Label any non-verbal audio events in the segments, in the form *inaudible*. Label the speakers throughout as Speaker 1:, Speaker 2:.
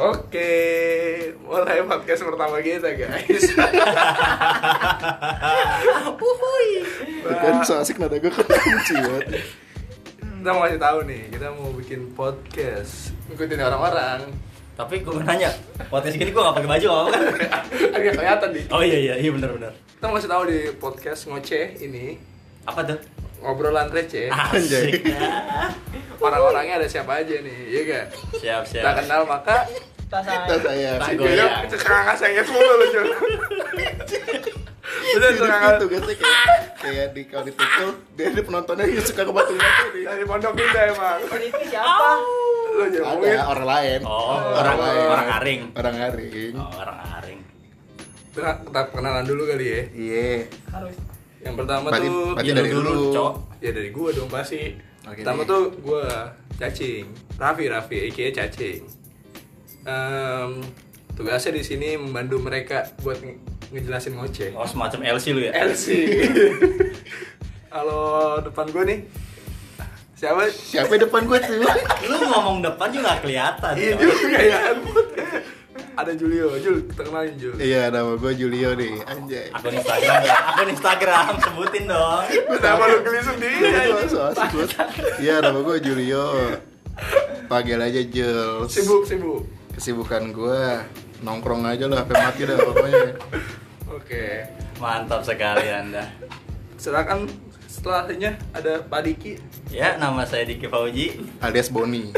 Speaker 1: Oke, mulai podcast pertama kita
Speaker 2: *laughs*
Speaker 1: guys. Uhuy.
Speaker 2: Ya kan so asik nada gue kekunci banget
Speaker 1: Kita mau kasih tahu nih, kita mau bikin podcast ngikutin orang-orang. *laughs*
Speaker 3: Tapi gue nanya, podcast gini gue gak pakai baju apa kan?
Speaker 1: Agak kelihatan nih.
Speaker 3: Oh iya iya iya benar benar.
Speaker 1: Kita mau kasih tahu di podcast ngoceh ini
Speaker 3: Apa tuh?
Speaker 1: ngobrolan receh.
Speaker 2: Ah.
Speaker 3: Asik.
Speaker 2: Anjay.
Speaker 3: ya.
Speaker 1: Orang-orangnya ada siapa aja nih, iya gak?
Speaker 3: Siap siap.
Speaker 1: Tak kenal maka
Speaker 2: Kita sayang
Speaker 3: Tak
Speaker 2: sih
Speaker 3: goyang.
Speaker 1: Iya, sekarang nggak sayang mulu lu Jul. Udah
Speaker 2: Hidup
Speaker 1: sekarang
Speaker 2: gitu biasanya kayak kayak di kalau dipukul dia ada penontonnya yang suka kebantu-bantu nih
Speaker 1: dari pondok indah emang.
Speaker 4: itu siapa?
Speaker 1: Lu jauhin.
Speaker 2: ada orang lain
Speaker 3: Oh,
Speaker 2: orang
Speaker 3: orang
Speaker 2: lain
Speaker 3: orang aring.
Speaker 2: orang aring
Speaker 3: Oh, orang aring.
Speaker 1: Kita kita kenalan dulu kali ya.
Speaker 2: iya
Speaker 4: Harus
Speaker 1: Yang pertama
Speaker 2: Berarti-
Speaker 1: tuh
Speaker 2: berarti
Speaker 3: Iya,
Speaker 2: dari
Speaker 3: lu dulu,
Speaker 2: dulu.
Speaker 3: cowok.
Speaker 1: ya dari gua dong pasti.
Speaker 2: Oke, iya.
Speaker 1: pertama
Speaker 2: deh.
Speaker 1: tuh gua cacing. Raffi Raffi aka cacing. Em, tugasnya di sini membantu mereka buat nge- ngejelasin ngoceh.
Speaker 3: Oh, semacam LC lu
Speaker 2: iya.
Speaker 3: ya?
Speaker 2: *laughs*
Speaker 1: LC. Kalau depan gua nih siapa?
Speaker 2: siapa di depan gue sih
Speaker 3: Lu ngomong depan juga gak kelihatan.
Speaker 1: Iya
Speaker 3: coy.
Speaker 1: juga ya. ampun. Ada Julio, Jul, kita kenalin Jul.
Speaker 2: iya nama gue Julio nih anjay
Speaker 3: Akun Instagram ya. Akun Instagram sebutin dong.
Speaker 1: Kenapa lu geli sendiri?
Speaker 3: iya.
Speaker 2: Gue
Speaker 1: anjing?
Speaker 2: *laughs* so asik banget iya nama gue Julio panggil aja Jules
Speaker 1: Sibuk, sibuk.
Speaker 2: kesibukan gue nongkrong aja lah sampai mati dah pokoknya
Speaker 1: Oke.
Speaker 3: Mantap sekali Anda.
Speaker 1: Silakan setelahnya ada Pak Diki.
Speaker 3: Ya, nama saya Diki Fauji. *laughs*
Speaker 2: alias Boni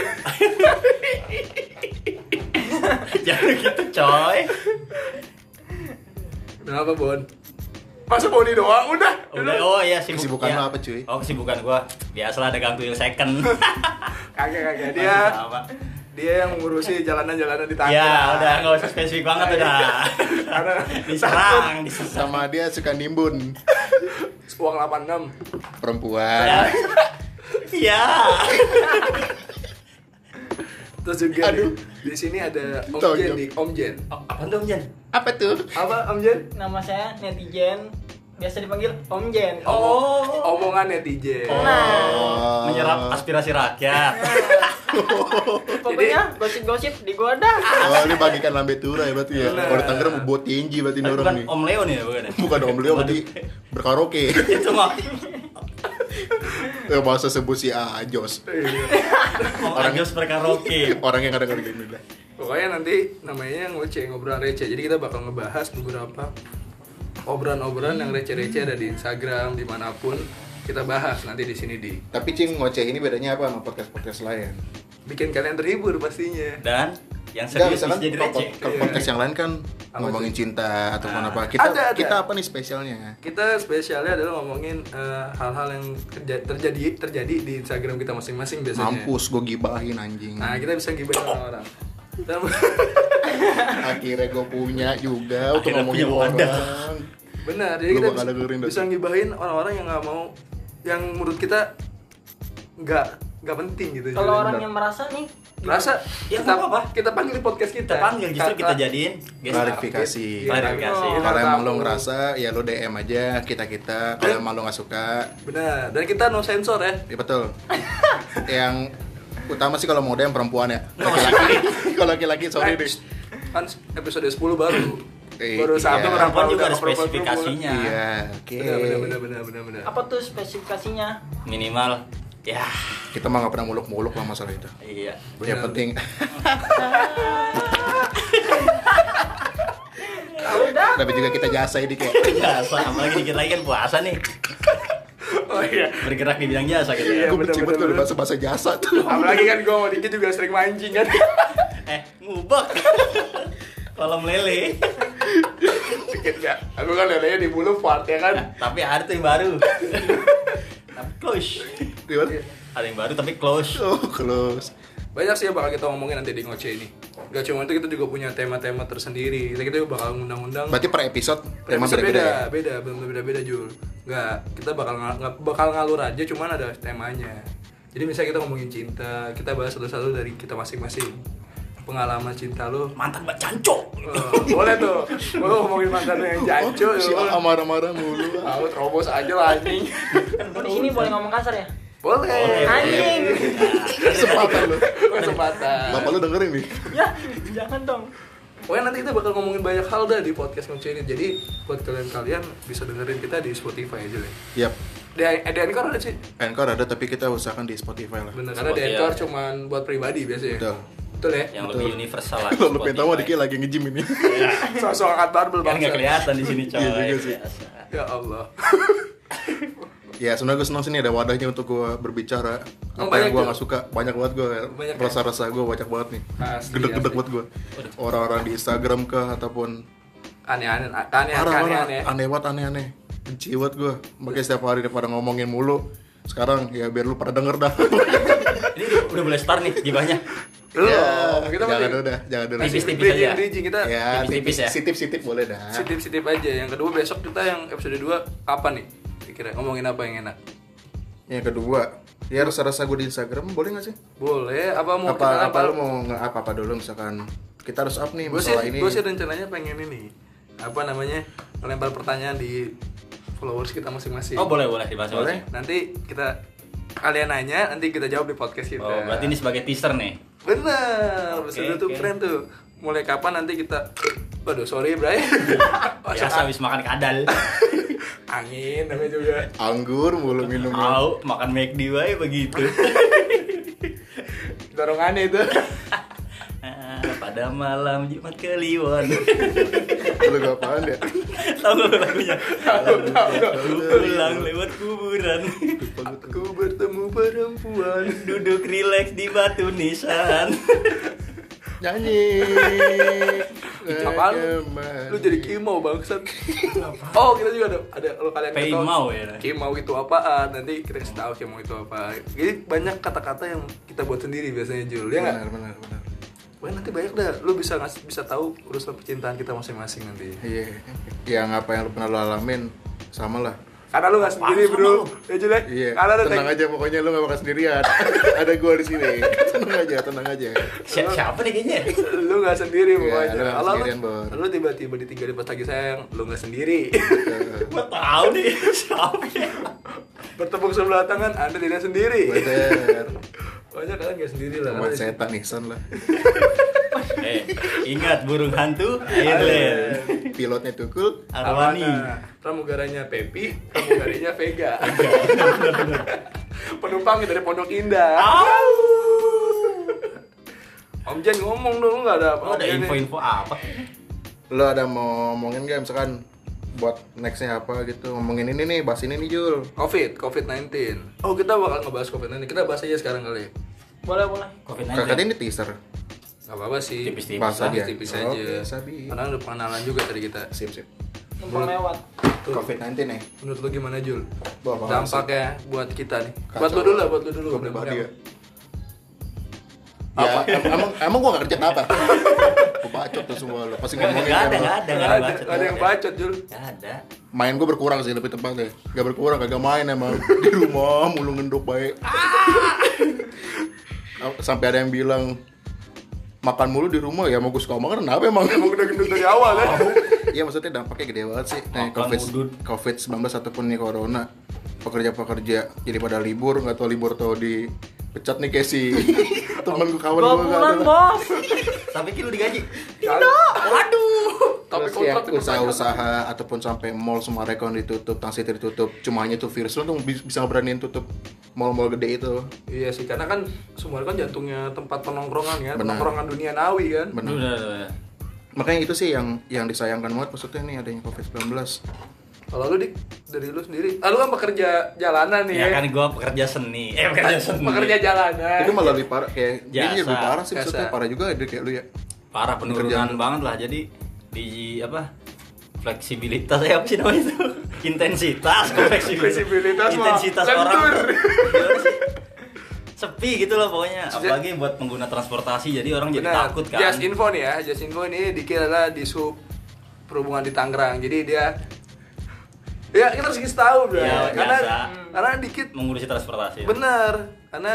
Speaker 3: Jangan gitu, coy.
Speaker 1: Kenapa Bon? Masa Boni doang? Udah.
Speaker 3: Udah, oh iya sibuk.
Speaker 2: kesibukan
Speaker 3: ya.
Speaker 2: lo apa cuy
Speaker 3: Oh, kesibukan gua. Biasalah ada gang tuyul second.
Speaker 1: Kagak kagak dia.
Speaker 2: Iya.
Speaker 3: *laughs* Sama.
Speaker 1: Dia yang ngurusi jalanan-jalanan di Tangerang.
Speaker 3: Ya, udah nggak usah spesifik banget udah.
Speaker 2: Iya.
Speaker 1: Karena
Speaker 3: Diserang, diserang.
Speaker 2: sama dia suka nimbun
Speaker 1: *laughs* uang 86.
Speaker 2: perempuan
Speaker 3: Ya.
Speaker 1: Terus juga
Speaker 2: Aduh.
Speaker 1: di di sini ada Om
Speaker 2: Tolong.
Speaker 1: Jen nih, Om Jen.
Speaker 3: Oh, Apa tuh, Jan?
Speaker 2: apa tuh
Speaker 1: Apa Om Jen?
Speaker 4: nama saya netizen, biasa dipanggil Om Jen.
Speaker 3: Oh.
Speaker 1: Omongan netizen.
Speaker 2: Oh.
Speaker 3: Menyerap aspirasi rakyat.
Speaker 4: Pokoknya gosip-gosip digoda.
Speaker 2: Oh, ini bagikan lambe tura ya berarti ya.
Speaker 1: Bener.
Speaker 2: Kalau di Tangerang buat tinggi berarti ini
Speaker 3: Tapi
Speaker 2: orang
Speaker 3: bukan
Speaker 2: nih.
Speaker 3: Om Leon ya, bukan ya?
Speaker 2: Bukan om beliau berarti berkaraoke.
Speaker 3: Itu mah
Speaker 2: Eh, bahasa sebut si Ajos.
Speaker 1: Iya.
Speaker 3: Om Agus berkaraoke.
Speaker 2: Orang yang kadang-kadang gini lah.
Speaker 1: Pokoknya nanti namanya ngoceh ngobrolan receh. Jadi kita bakal ngebahas beberapa obrolan-obrolan yang receh-receh ada di Instagram dimanapun kita bahas nanti di sini di
Speaker 2: Tapi Cing ngoceh ini bedanya apa sama podcast-podcast lain?
Speaker 1: bikin kalian terhibur pastinya.
Speaker 3: Dan yang
Speaker 2: Enggak,
Speaker 3: serius bisa
Speaker 2: misalkan
Speaker 3: jadi
Speaker 2: kalau
Speaker 3: receh.
Speaker 2: pod- kalau podcast yang lain kan
Speaker 1: Apa
Speaker 2: ngomongin cinta ataupun
Speaker 3: Ah.
Speaker 2: apa. Kita
Speaker 1: Ada, ada.
Speaker 2: kita apa nih spesialnya?
Speaker 1: Kita spesialnya adalah ngomongin eh, hal-hal yang kerja- terjadi terjadi di Instagram kita masing-masing biasanya.
Speaker 2: Mampus gue gibahin anjing.
Speaker 1: Nah, kita bisa gibain orang-orang. Dan-
Speaker 2: Akhirnya gue punya juga untuk
Speaker 3: Akhirnya
Speaker 2: ngomongin
Speaker 3: punya wadah.
Speaker 2: orang.
Speaker 1: *laughs* Benar, jadi
Speaker 2: Lu
Speaker 1: kita
Speaker 2: bakal dengerin,
Speaker 1: bisa, bisa
Speaker 2: Dok.
Speaker 1: ngibahin orang-orang yang nggak mau yang menurut kita nggak nggak penting gitu.
Speaker 4: Kalau
Speaker 1: Jadi,
Speaker 4: orang yang merasa nih,
Speaker 1: merasa
Speaker 3: Ya,
Speaker 1: kita,
Speaker 3: nggak apa-apa.
Speaker 1: kita panggil di podcast kita
Speaker 3: Kita panggil justru kita
Speaker 1: Kakak.
Speaker 3: jadiin guest
Speaker 2: Klarifikasi.
Speaker 1: Iya,
Speaker 3: Klarifikasi.
Speaker 1: kita
Speaker 2: Kalau emang
Speaker 1: tahu.
Speaker 2: lo ngerasa ya lo DM aja kita kita. Kalau emang lo nggak suka
Speaker 1: benar dan kita no sensor ya
Speaker 2: Iya betul.
Speaker 1: *laughs*
Speaker 2: yang utama sih kalau mau yang perempuan ya.
Speaker 1: Oh, iya.
Speaker 2: Laki-laki. *laughs* kalau laki-laki sorry deh.
Speaker 1: kan episode 10 baru
Speaker 2: Eh,
Speaker 1: baru
Speaker 2: iya.
Speaker 1: satu
Speaker 3: up.
Speaker 1: berapa
Speaker 3: Perempuan juga
Speaker 1: udah
Speaker 3: ada
Speaker 1: perempuan-
Speaker 3: spesifikasinya.
Speaker 2: Iya, oke.
Speaker 1: benar benar benar benar benar benar
Speaker 4: apa tuh spesifikasinya?
Speaker 3: Minimal ya
Speaker 2: Kita mah nggak pernah muluk-muluk lah masalah itu.
Speaker 3: iya.
Speaker 2: Yang
Speaker 1: Benar.
Speaker 2: penting *laughs*
Speaker 4: Udah,
Speaker 2: tapi juga kita jasai dikit.
Speaker 3: Jasa, apalagi dikit lagi kan puasa nih.
Speaker 1: oh iya
Speaker 3: Bergerak di bidang jasa gitu ya.
Speaker 1: Iya,
Speaker 2: Gue
Speaker 1: benar, benar,
Speaker 2: benci banget kalau
Speaker 1: benar.
Speaker 2: bahasa bahasa jasa tuh.
Speaker 1: *laughs* apalagi kan gue mau dikit juga sering mancing kan *laughs*
Speaker 3: Eh, ngubek. Kolam lele.
Speaker 1: dikit ya aku kan lelenya di Boulevard ya kan
Speaker 3: Tapi ada tuh yang baru. tapi close.
Speaker 1: Iya.
Speaker 2: Gimana?
Speaker 3: Ada yang baru tapi close.
Speaker 2: Oh, close.
Speaker 1: banyak sih yang bakal kita ngomongin nanti di ngoceh ini gak cuma itu kita juga punya tema-tema tersendiri kita kita juga bakal ngundang-undang
Speaker 2: Berarti per episode memang
Speaker 1: Episode
Speaker 2: beda-beda ya.
Speaker 1: beda, beda, belum beda beda Jul. Nggak, kita bakal ngal- nggak bakal ngalur aja, cuman ada temanya. Jadi misalnya kita ngomongin cinta, kita bahas satu-satu dari kita masing-masing. Pengalaman cinta *laughs* lo.
Speaker 3: Mantan Mbak Canco.
Speaker 1: Eh, boleh tuh. Mau lo ngomongin mantan lo yang jancuk.
Speaker 2: Oh, si
Speaker 1: ya
Speaker 2: A
Speaker 1: lo.
Speaker 2: marah-marah mulu. *laughs*
Speaker 1: Ah, lo terobos aja lah anjing.
Speaker 4: di sini boleh ngomong kasar ya?
Speaker 1: Boleh.
Speaker 4: Anjing.
Speaker 2: Kesempatan lu.
Speaker 1: Kesempatan.
Speaker 2: Bapak lu dengerin nih.
Speaker 4: ya, jangan dong.
Speaker 1: Pokoknya nanti kita bakal ngomongin banyak hal dah di podcast ngomongin ini. Jadi buat kalian-kalian bisa dengerin kita di Spotify aja deh.
Speaker 2: Yap.
Speaker 1: Di, eh, di Anchor ada sih.
Speaker 2: Anchor ada tapi kita usahakan di Spotify lah.
Speaker 1: Bener, karena di
Speaker 3: Spotify.
Speaker 1: Anchor cuman buat pribadi biasanya.
Speaker 2: Betul.
Speaker 1: Betul ya?
Speaker 3: Yang lebih universal
Speaker 2: *laughs*
Speaker 3: lah.
Speaker 2: Kalau lu pengen tahu
Speaker 3: Spotify.
Speaker 2: dikit lagi nge-gym ini.
Speaker 1: Iya. Sosok angkat barbel
Speaker 3: Kan nggak
Speaker 1: bang.
Speaker 3: kelihatan di sini coy.
Speaker 2: Iya juga sih.
Speaker 3: Biasa.
Speaker 1: Ya Allah.
Speaker 2: ya sebenarnya gue senang sih nih ada wadahnya untuk gue berbicara
Speaker 1: Oh,
Speaker 2: apa
Speaker 1: banyak
Speaker 2: yang gue
Speaker 1: tuh.
Speaker 2: nggak suka banyak banget gue
Speaker 1: Banyak ya?
Speaker 2: rasa-rasa gue banyak banget nih
Speaker 1: Asli,
Speaker 2: gedek-gedek
Speaker 1: asli.
Speaker 2: banget gue orang-orang di Instagram ke ataupun
Speaker 1: Aneh-aneh, Ya, aneh-aneh,
Speaker 2: parah-parah
Speaker 1: aneh-aneh.
Speaker 2: aneh banget aneh-aneh benci banget gue makanya setiap hari daripada ngomongin mulu sekarang ya biar lu pada denger dah
Speaker 3: Ini udah- udah boleh start nih gibahnya.
Speaker 1: Belum,
Speaker 2: *laughs* Ya,
Speaker 1: kita
Speaker 2: jangan
Speaker 1: masih
Speaker 2: udah jangan udah
Speaker 3: Tipis-tipis
Speaker 1: bridging,
Speaker 3: aja.
Speaker 1: bridging. kita
Speaker 2: ya
Speaker 3: tipis-tipis ya.
Speaker 2: sitip-sitip boleh dah
Speaker 1: sitip-sitip aja. Yang kedua besok kita yang episode 2 apa nih? Kira ngomongin apa yang enak?
Speaker 2: yang kedua ya rasa-rasa gue di Instagram boleh gak sih
Speaker 1: Boleh, apa mau kita
Speaker 2: apa apa lu mau nge apa apa dulu misalkan kita harus up nih
Speaker 1: Gue sih,
Speaker 2: masalah ini
Speaker 1: gue sih rencananya pengen ini Apa namanya, ngelempar pertanyaan di followers kita masing-masing
Speaker 3: Oh boleh boleh dibahas
Speaker 2: Boleh.
Speaker 1: Nanti kita, kalian nanya, nanti kita jawab di podcast kita
Speaker 3: Oh berarti ini sebagai teaser nih.
Speaker 1: Bener,
Speaker 3: Oke,
Speaker 1: episode tuh
Speaker 3: oke.
Speaker 1: keren tuh Mulai kapan nanti kita Waduh, sorry Bray
Speaker 3: *laughs*
Speaker 1: Oh,
Speaker 3: Biasa habis makan kadal.
Speaker 1: Angin namanya juga
Speaker 2: anggur mulu minum
Speaker 3: Au, makan McD wae begitu.
Speaker 1: Dorongannya itu
Speaker 3: Ah, Pada malam Jumat Kliwon. *laughs*
Speaker 2: Lu gak apaan ya?
Speaker 3: Tahu enggak lagunya?
Speaker 1: Tahu, tahu, tahu.
Speaker 3: Aku pulang lewat kuburan. *laughs*
Speaker 1: Aku bertemu perempuan
Speaker 3: Duduk rileks di batu nisan.
Speaker 2: Nyanyi.
Speaker 1: *laughs* Ih, Apaan lu? Lu jadi kimau bangsat Oh kita juga ada, ada kalau kalian nggak tahu,
Speaker 3: Kimau ya?
Speaker 1: Kimau itu apaan Nanti kita kasih tahu kimau itu apa Jadi banyak kata-kata yang kita buat sendiri biasanya Jul Ya nggak?
Speaker 2: Benar, benar, benar.
Speaker 1: Wah, nanti banyak dah Lu bisa ngasih, bisa tahu urusan percintaan kita masing-masing nanti
Speaker 2: Iya. Yang apa yang lu pernah lu alamin sama lah.
Speaker 1: Karena lu nggak sendiri
Speaker 3: sama
Speaker 1: bro
Speaker 3: lu?
Speaker 1: Ya Jul ya?
Speaker 2: Iya.
Speaker 1: Karena ada
Speaker 2: tenang
Speaker 1: tek-
Speaker 2: aja pokoknya lu gak bakal sendirian. *laughs* Ada gua di sini. Tenang aja, tenang
Speaker 1: *laughs*
Speaker 2: aja.
Speaker 3: Si- Siapa nih kayaknya?
Speaker 1: lu nggak sendiri
Speaker 2: Iya,
Speaker 1: pokoknya
Speaker 2: lu nggak
Speaker 1: Kalau
Speaker 2: sendirian, Bor.
Speaker 1: lu tiba-tiba ditinggal pas lagi sayang lu nggak sendiri *laughs*
Speaker 3: Gua tahu nih *laughs* siapa. ya.
Speaker 1: bertepuk sebelah tangan anda tidak sendiri
Speaker 2: Bener.
Speaker 1: pokoknya kalian nggak sendiri lah
Speaker 2: Teman setan nisan lah.
Speaker 3: Eh, ingat burung hantu iya, Ireland.
Speaker 2: Pilotnya tukul.
Speaker 3: Arwani.
Speaker 1: Awana. pramugaranya Pepi pramugarinya
Speaker 2: *laughs*
Speaker 1: Vega
Speaker 2: Iya.
Speaker 1: penumpangnya dari Pondok Indah
Speaker 3: Au.
Speaker 1: Om Jan ngomong dong lu nggak ada
Speaker 3: Lu Oh, ada
Speaker 1: Om Jan nih.
Speaker 3: info-info apa?
Speaker 2: Lu ada mau ngomongin gak misalkan buat nextnya apa gitu ngomongin ini nih bahas ini nih Jul
Speaker 1: COVID COVID 19 oh kita bakal ngebahas COVID 19 kita bahas aja sekarang kali
Speaker 4: Boleh, boleh.
Speaker 2: kakak
Speaker 3: Covid-19.
Speaker 2: ini teaser
Speaker 1: nggak apa-apa sih
Speaker 3: Tipis-tipis
Speaker 2: bahas
Speaker 3: lah.
Speaker 2: aja
Speaker 1: tipis
Speaker 2: Oke,
Speaker 1: aja
Speaker 2: sabi
Speaker 1: karena udah pengenalan juga tadi kita
Speaker 2: sip sip
Speaker 4: Numpang lewat.
Speaker 1: Tuh.
Speaker 2: COVID-19 nih
Speaker 1: Menurut lu gimana Jul?
Speaker 2: Wah, bakal
Speaker 1: Dampaknya buat kita nih.
Speaker 2: Kacau.
Speaker 1: Buat lu dulu lah, buat lu dulu.
Speaker 2: gue pribadi ya
Speaker 1: Dampaknya
Speaker 2: Ya, em- emang emang gue gak kerja apa? gue bacot tuh semua lo. Pasti
Speaker 3: Nggak
Speaker 2: ngomongin
Speaker 3: nggak ada, nggak
Speaker 2: kan, lo.
Speaker 1: apa?
Speaker 3: ada, nggak
Speaker 1: Nggak
Speaker 3: ada.
Speaker 1: ada,
Speaker 3: bacot,
Speaker 1: nggak ada yang
Speaker 3: nggak ada.
Speaker 1: bacot Jul.
Speaker 3: Nggak ada.
Speaker 2: Main gue berkurang sih lebih tepatnya. Gak berkurang, kagak main emang. Di rumah mulu ngendok baik. Ah! Sampai ada yang bilang makan mulu di rumah ya mau gue suka makan kenapa emang
Speaker 1: Emang udah gendut dari awal ya.
Speaker 2: *laughs* Iya maksudnya dampaknya gede banget sih nah,
Speaker 3: Makan
Speaker 2: COVID
Speaker 3: udut.
Speaker 2: COVID 19 ataupun nih corona pekerja-pekerja jadi pada libur nggak tahu libur tahu dipecat nih *laughs* kayak si temen gue kawan
Speaker 4: Dua
Speaker 2: gue
Speaker 4: bulan, Bos.
Speaker 3: Tapi kilo digaji.
Speaker 1: Tidak.
Speaker 3: Waduh.
Speaker 1: Tapi
Speaker 2: Terus yang
Speaker 1: kontrak tetap aja.
Speaker 2: usaha-usaha ataupun sampai mall semua rekon ditutup, tang situ ditutup. Cuma hanya tuh virus lu tuh bi- bisa beraniin tutup mall-mall gede itu.
Speaker 1: Iya sih, karena kan Sumbar kan jantungnya tempat penongkrongan ya,
Speaker 2: Benar.
Speaker 1: penongkrongan dunia nawi kan.
Speaker 2: Benar. Makanya itu sih yang yang disayangkan banget maksudnya nih adanya Covid-19.
Speaker 1: Kalau lu dik dari lu sendiri, ah lu kan pekerja jalanan nih.
Speaker 3: Ya kan gua pekerja seni. Eh pekerja seni.
Speaker 1: Pekerja jalanan.
Speaker 2: Itu malah lebih parah kayak dia
Speaker 3: Jasa.
Speaker 2: jadi lebih parah sih maksudnya
Speaker 1: Jasa.
Speaker 2: parah juga dia kayak lu ya.
Speaker 3: parah penurunan
Speaker 2: Pekerjaan.
Speaker 3: banget lah jadi di apa fleksibilitas eh, apa sih namanya itu *laughs* intensitas
Speaker 1: *laughs*
Speaker 3: kok fleksibilitas
Speaker 1: Fleksibilitas mah
Speaker 3: intensitas orang *laughs*
Speaker 1: lentur.
Speaker 3: Gimana sih? sepi gitu loh pokoknya
Speaker 1: Sejak-
Speaker 3: apalagi buat pengguna transportasi jadi orang jadi
Speaker 1: Benar.
Speaker 3: takut kan
Speaker 1: Just info nih ya, just info ini Diki adalah di sub perhubungan di Tangerang. Jadi dia Ya, kita harus kasih tahu, Bro.
Speaker 3: Iya,
Speaker 1: karena
Speaker 3: biasa. Iya.
Speaker 1: karena dikit
Speaker 3: mengurusi transportasi
Speaker 1: bener karena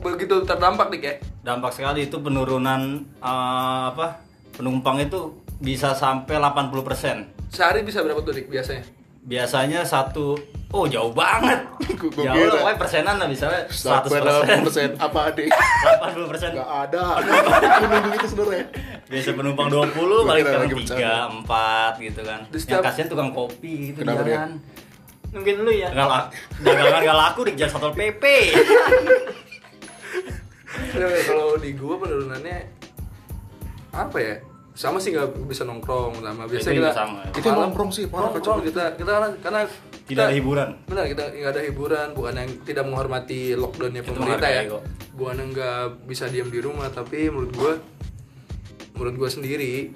Speaker 1: begitu terdampak ya, nih kayak
Speaker 3: dampak sekali itu penurunan eh, apa penumpang itu bisa sampai 80%
Speaker 1: sehari bisa berapa tuh dik biasanya
Speaker 3: biasanya satu oh jauh
Speaker 1: *laughs*
Speaker 3: banget
Speaker 2: Gua- gua
Speaker 3: jauh
Speaker 2: kira.
Speaker 3: lah pokoknya persenan lah misalnya 100
Speaker 2: Sampai
Speaker 3: *laughs*
Speaker 2: 80% apa adik?
Speaker 3: 80 persen
Speaker 2: Gak ada. Aku nunggu itu sebenarnya.
Speaker 3: biasa penumpang 20 paling
Speaker 2: kira
Speaker 3: sekarang
Speaker 2: lagi bercanda.
Speaker 3: 3, 4 gitu kan
Speaker 1: Terus
Speaker 3: yang
Speaker 1: tiap-
Speaker 3: kasihan tukang kopi gitu di
Speaker 2: Kenapa dia?
Speaker 3: jalan
Speaker 4: Mungkin lu ya.
Speaker 3: Nggak la- dagangan gak laku dikejar satpol PP
Speaker 1: Nah, kalau di gua penurunannya apa ya? Sama sih nggak bisa nongkrong sama biasa
Speaker 3: Itu
Speaker 1: kita
Speaker 3: sama.
Speaker 2: Itu yang nongkrong sih, parah,
Speaker 1: nongkrong
Speaker 2: kacau.
Speaker 1: kita kita karena karena
Speaker 3: tidak ada
Speaker 1: kita-
Speaker 3: hiburan
Speaker 1: benar kita nggak ada hiburan bukan yang tidak menghormati lockdownnya
Speaker 3: Itu
Speaker 1: pemerintah ya
Speaker 3: menghargai kok.
Speaker 1: bukan yang nggak bisa diam di rumah tapi menurut gua menurut gua sendiri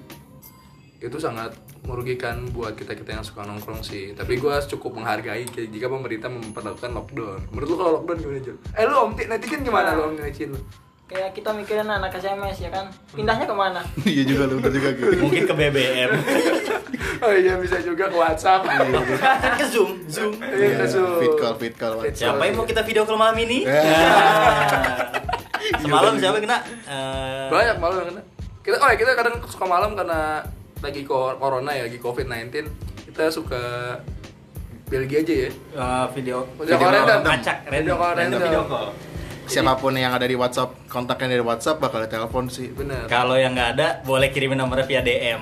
Speaker 1: itu sangat merugikan buat kita kita yang suka nongkrong sih tapi gua cukup menghargai jika pemerintah memperlakukan lockdown menurut lu kalau lockdown gimana Jul? eh lu om Ti- netizen gimana
Speaker 2: Nah.
Speaker 1: lu om netizen lu?
Speaker 4: Kayak kita mikirin anak SMS ya kan. Pindahnya kemana?
Speaker 2: Iya juga lu bener juga gitu.
Speaker 3: mungkin ke *laughs* BBM
Speaker 1: *laughs* oh iya bisa juga ke WhatsApp
Speaker 3: kan ke Zoom Zoom
Speaker 1: Iya,
Speaker 2: Iya,
Speaker 1: Zul.
Speaker 2: Fit call, fit call.
Speaker 1: Fit
Speaker 3: siapa yang mau kita video call malam ini
Speaker 1: *laughs*
Speaker 2: Eh.
Speaker 1: Iya,
Speaker 3: Nah. semalam siapa yang kena Eh,
Speaker 1: banyak malam yang kena kita oh ya, kita kadang suka malam karena lagi ko- corona ya lagi covid 19 kita suka Belgia aja ya
Speaker 3: eh, video
Speaker 1: Video call random.
Speaker 3: acak
Speaker 1: Video call random.
Speaker 3: video call
Speaker 2: Siapapun yang ada di WhatsApp, kontaknya dari WhatsApp bakal ditelepon sih.
Speaker 1: bener
Speaker 3: Kalau yang nggak ada, boleh kirimin nomornya via DM.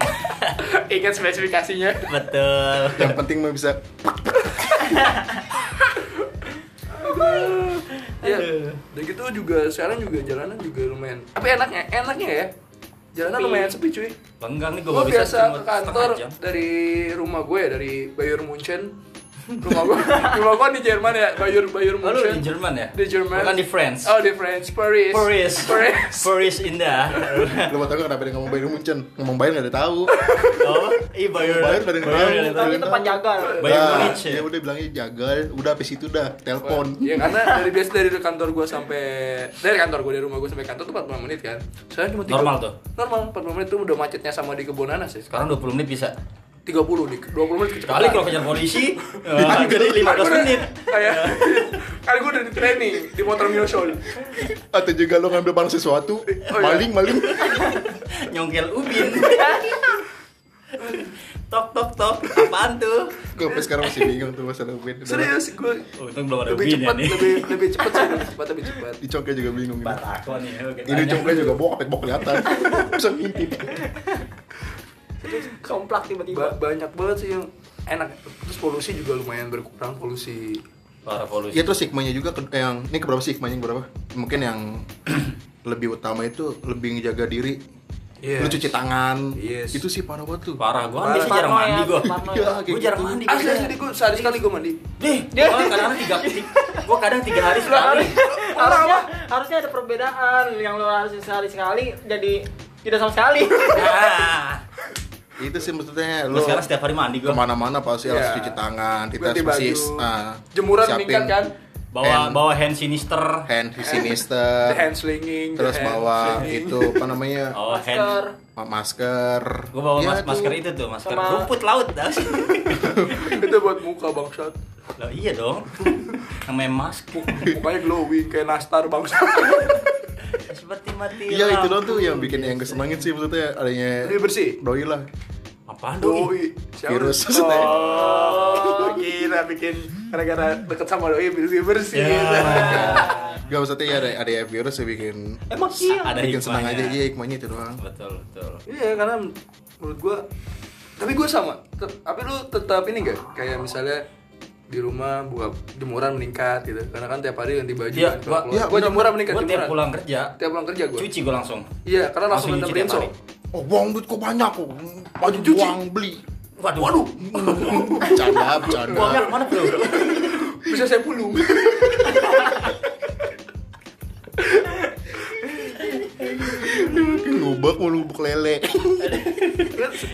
Speaker 1: *laughs* ingat spesifikasinya
Speaker 3: *laughs* Betul.
Speaker 2: Yang penting mah bisa
Speaker 1: ya dan gitu juga sekarang juga jalanan juga lumayan tapi enaknya enaknya ya jalanan
Speaker 4: Sepi.
Speaker 1: lumayan sepi cuy
Speaker 3: Benggang nih gue
Speaker 1: gue biasa
Speaker 3: cuma
Speaker 1: ke
Speaker 3: setengah
Speaker 1: kantor
Speaker 3: jam.
Speaker 1: dari rumah gue ya dari Bayer
Speaker 3: *laughs*
Speaker 1: Munchen rumah gue *laughs* rumah gue di Jerman ya Bayer Bayer
Speaker 3: Oh, lu
Speaker 1: Munchen
Speaker 3: di Jerman ya?
Speaker 1: di Jerman
Speaker 3: Bukan di France.
Speaker 1: oh di France Paris
Speaker 3: Paris.
Speaker 1: *laughs* Paris
Speaker 3: *laughs* Paris
Speaker 1: *laughs*
Speaker 3: indah.
Speaker 2: Lu mau tau gak kenapa dia ngomong Bayern Munchen? Ngomong Bayern gak ada yang tahu.
Speaker 3: Oh, i Bayern.
Speaker 2: Bayern nggak ada yang
Speaker 3: Bayern
Speaker 2: tahu.
Speaker 3: nggak ada yang
Speaker 4: Tapi
Speaker 3: tahu.
Speaker 4: tempat jagal.
Speaker 3: *laughs* Bayern
Speaker 2: Nah,
Speaker 3: Munich ya?
Speaker 2: Ya udah bilangnya jagal, udah habis itu dah telepon.
Speaker 1: Iya karena dari biasa dari kantor gue sampai dari kantor gue dari rumah gue sampai kantor tuh 45 menit kan. Saya cuma tiga-
Speaker 3: Normal tuh?
Speaker 1: Normal 40 menit tuh udah macetnya sama di kebun nanas ya.
Speaker 3: Sekarang 20 menit bisa.
Speaker 1: 30 di 20 menit kecepatan.
Speaker 3: Kali kalau kejar polisi,
Speaker 1: Iya,
Speaker 3: eh, jadi 15 menit.
Speaker 1: *laughs* Kayak kan gue udah di training di motor Mio Soul.
Speaker 2: Atau juga lu ngambil barang sesuatu,
Speaker 1: iya.
Speaker 2: maling maling. *laughs*
Speaker 3: Nyongkel ubin. *laughs* tok tok tok. Apaan tuh?
Speaker 2: Gue sampai sekarang masih bingung tuh masalah Ubin. Udah lah,
Speaker 1: Serius gue
Speaker 3: Oh, untung belum ada
Speaker 1: lebih
Speaker 3: ubin ya
Speaker 1: cepat
Speaker 3: nih.
Speaker 1: lebih lebih cepat sih lebih cepat lebih cepat.
Speaker 2: Di congke juga bingung. gitu.
Speaker 3: Batako nih. oke,
Speaker 2: Ini
Speaker 3: tanya.
Speaker 2: congke juga bokap, bokap
Speaker 3: *laughs*
Speaker 2: kelihatan. Bisa ngintip.
Speaker 4: Somplak tiba-tiba.
Speaker 1: Ba- banyak banget sih yang enak terus polusi juga lumayan berkurang polusi
Speaker 3: Para polisi.
Speaker 2: Ya terus sigmanya juga ke- yang ini keberapa sih sigmanya yang berapa? Mungkin yang *clears throat* lebih utama itu lebih ngejaga diri.
Speaker 1: Yes.
Speaker 2: Lu cuci tangan.
Speaker 1: Yes.
Speaker 2: Itu sih parah banget tuh.
Speaker 3: Parah
Speaker 1: Parah.
Speaker 3: gua
Speaker 1: ya.
Speaker 3: biasa jarang mandi
Speaker 4: Paranoid,
Speaker 3: gua.
Speaker 4: paranoid.
Speaker 2: Iya, kayak
Speaker 3: Gua jarang
Speaker 2: gitu.
Speaker 3: mandi.
Speaker 1: asli
Speaker 3: gua.
Speaker 1: asli gue sehari sekali gue mandi
Speaker 3: Dih, gua kadang tiga Gua kadang tiga hari sekali.
Speaker 4: Harusnya harusnya ada perbedaan yang lu harus sehari sekali jadi tidak sama sekali.
Speaker 3: Nah,
Speaker 2: Itu sih maksudnya
Speaker 3: gua
Speaker 2: lu
Speaker 3: sekarang setiap hari mandi gua.
Speaker 2: kemana-mana pasti harus
Speaker 1: Iya.
Speaker 2: cuci tangan, kita
Speaker 1: Ganti
Speaker 2: harus mesti
Speaker 1: baju.
Speaker 2: ah,
Speaker 1: Jemuran
Speaker 2: siapin
Speaker 1: meningkat kan? Eh,
Speaker 3: Bawa
Speaker 2: hand-
Speaker 3: bawa hand sinister.
Speaker 2: hand sinister,
Speaker 1: the hand slinging the
Speaker 2: terus
Speaker 1: hand
Speaker 2: bawa
Speaker 1: slinging.
Speaker 2: itu apa namanya
Speaker 3: Oh,
Speaker 4: Masker. Iya,
Speaker 3: hand.
Speaker 2: ma- masker.
Speaker 3: Gua bawa
Speaker 2: Ya,
Speaker 3: mas
Speaker 2: tuh.
Speaker 3: masker itu tuh, masker
Speaker 4: Sama-
Speaker 3: rumput laut. *laughs* Loh,
Speaker 1: itu buat muka bangsat
Speaker 3: iya dong. *laughs* Namanya masker.
Speaker 1: mukanya glowing kayak nastar bangsat
Speaker 3: Ya, Seperti mati.
Speaker 2: Iya
Speaker 3: lampu.
Speaker 2: itu doang tuh yang bikin yang kesenangin sih maksudnya adanya
Speaker 1: Lebih bersih?
Speaker 2: doi lah
Speaker 3: Apaan doi?
Speaker 1: doi Siapa?
Speaker 2: Virus. *laughs*
Speaker 1: oh gila bikin gara-gara deket sama doi lebih bersih
Speaker 3: Iya.
Speaker 2: Gak maksudnya ya ada, ada ya virus yang bikin
Speaker 4: Emang iya.
Speaker 3: Ada
Speaker 2: bikin senang aja
Speaker 3: hikmahnya.
Speaker 2: iya hikmahnya itu doang
Speaker 3: Betul, betul.
Speaker 1: Iya karena menurut gua tapi gua sama Tet- tapi lu tetap ini gak kayak misalnya di rumah buka jemuran meningkat gitu karena kan tiap hari ganti baju
Speaker 3: Iya,
Speaker 1: kan,
Speaker 3: gua-
Speaker 1: keluar.
Speaker 2: iya,
Speaker 1: gua
Speaker 2: bener.
Speaker 1: jemuran meningkat
Speaker 3: Gua tiap
Speaker 1: jemuran.
Speaker 3: pulang kerja,
Speaker 1: tiap pulang kerja gua
Speaker 3: cuci gua langsung.
Speaker 1: iya karena langsung
Speaker 3: Langsung
Speaker 1: nonton
Speaker 3: nyuci tiap
Speaker 1: Brinso
Speaker 3: hari.
Speaker 2: oh buang duit kok banyak kok baju
Speaker 1: Cuci.
Speaker 2: buang beli *laughs*
Speaker 3: Waduh. Waduh.
Speaker 2: bercanda
Speaker 3: Buangnya
Speaker 2: bercanda
Speaker 3: kemana
Speaker 2: *laughs*
Speaker 3: tuh?
Speaker 1: bisa saya
Speaker 3: *laughs*
Speaker 1: pulung
Speaker 2: lubek mau lubek lele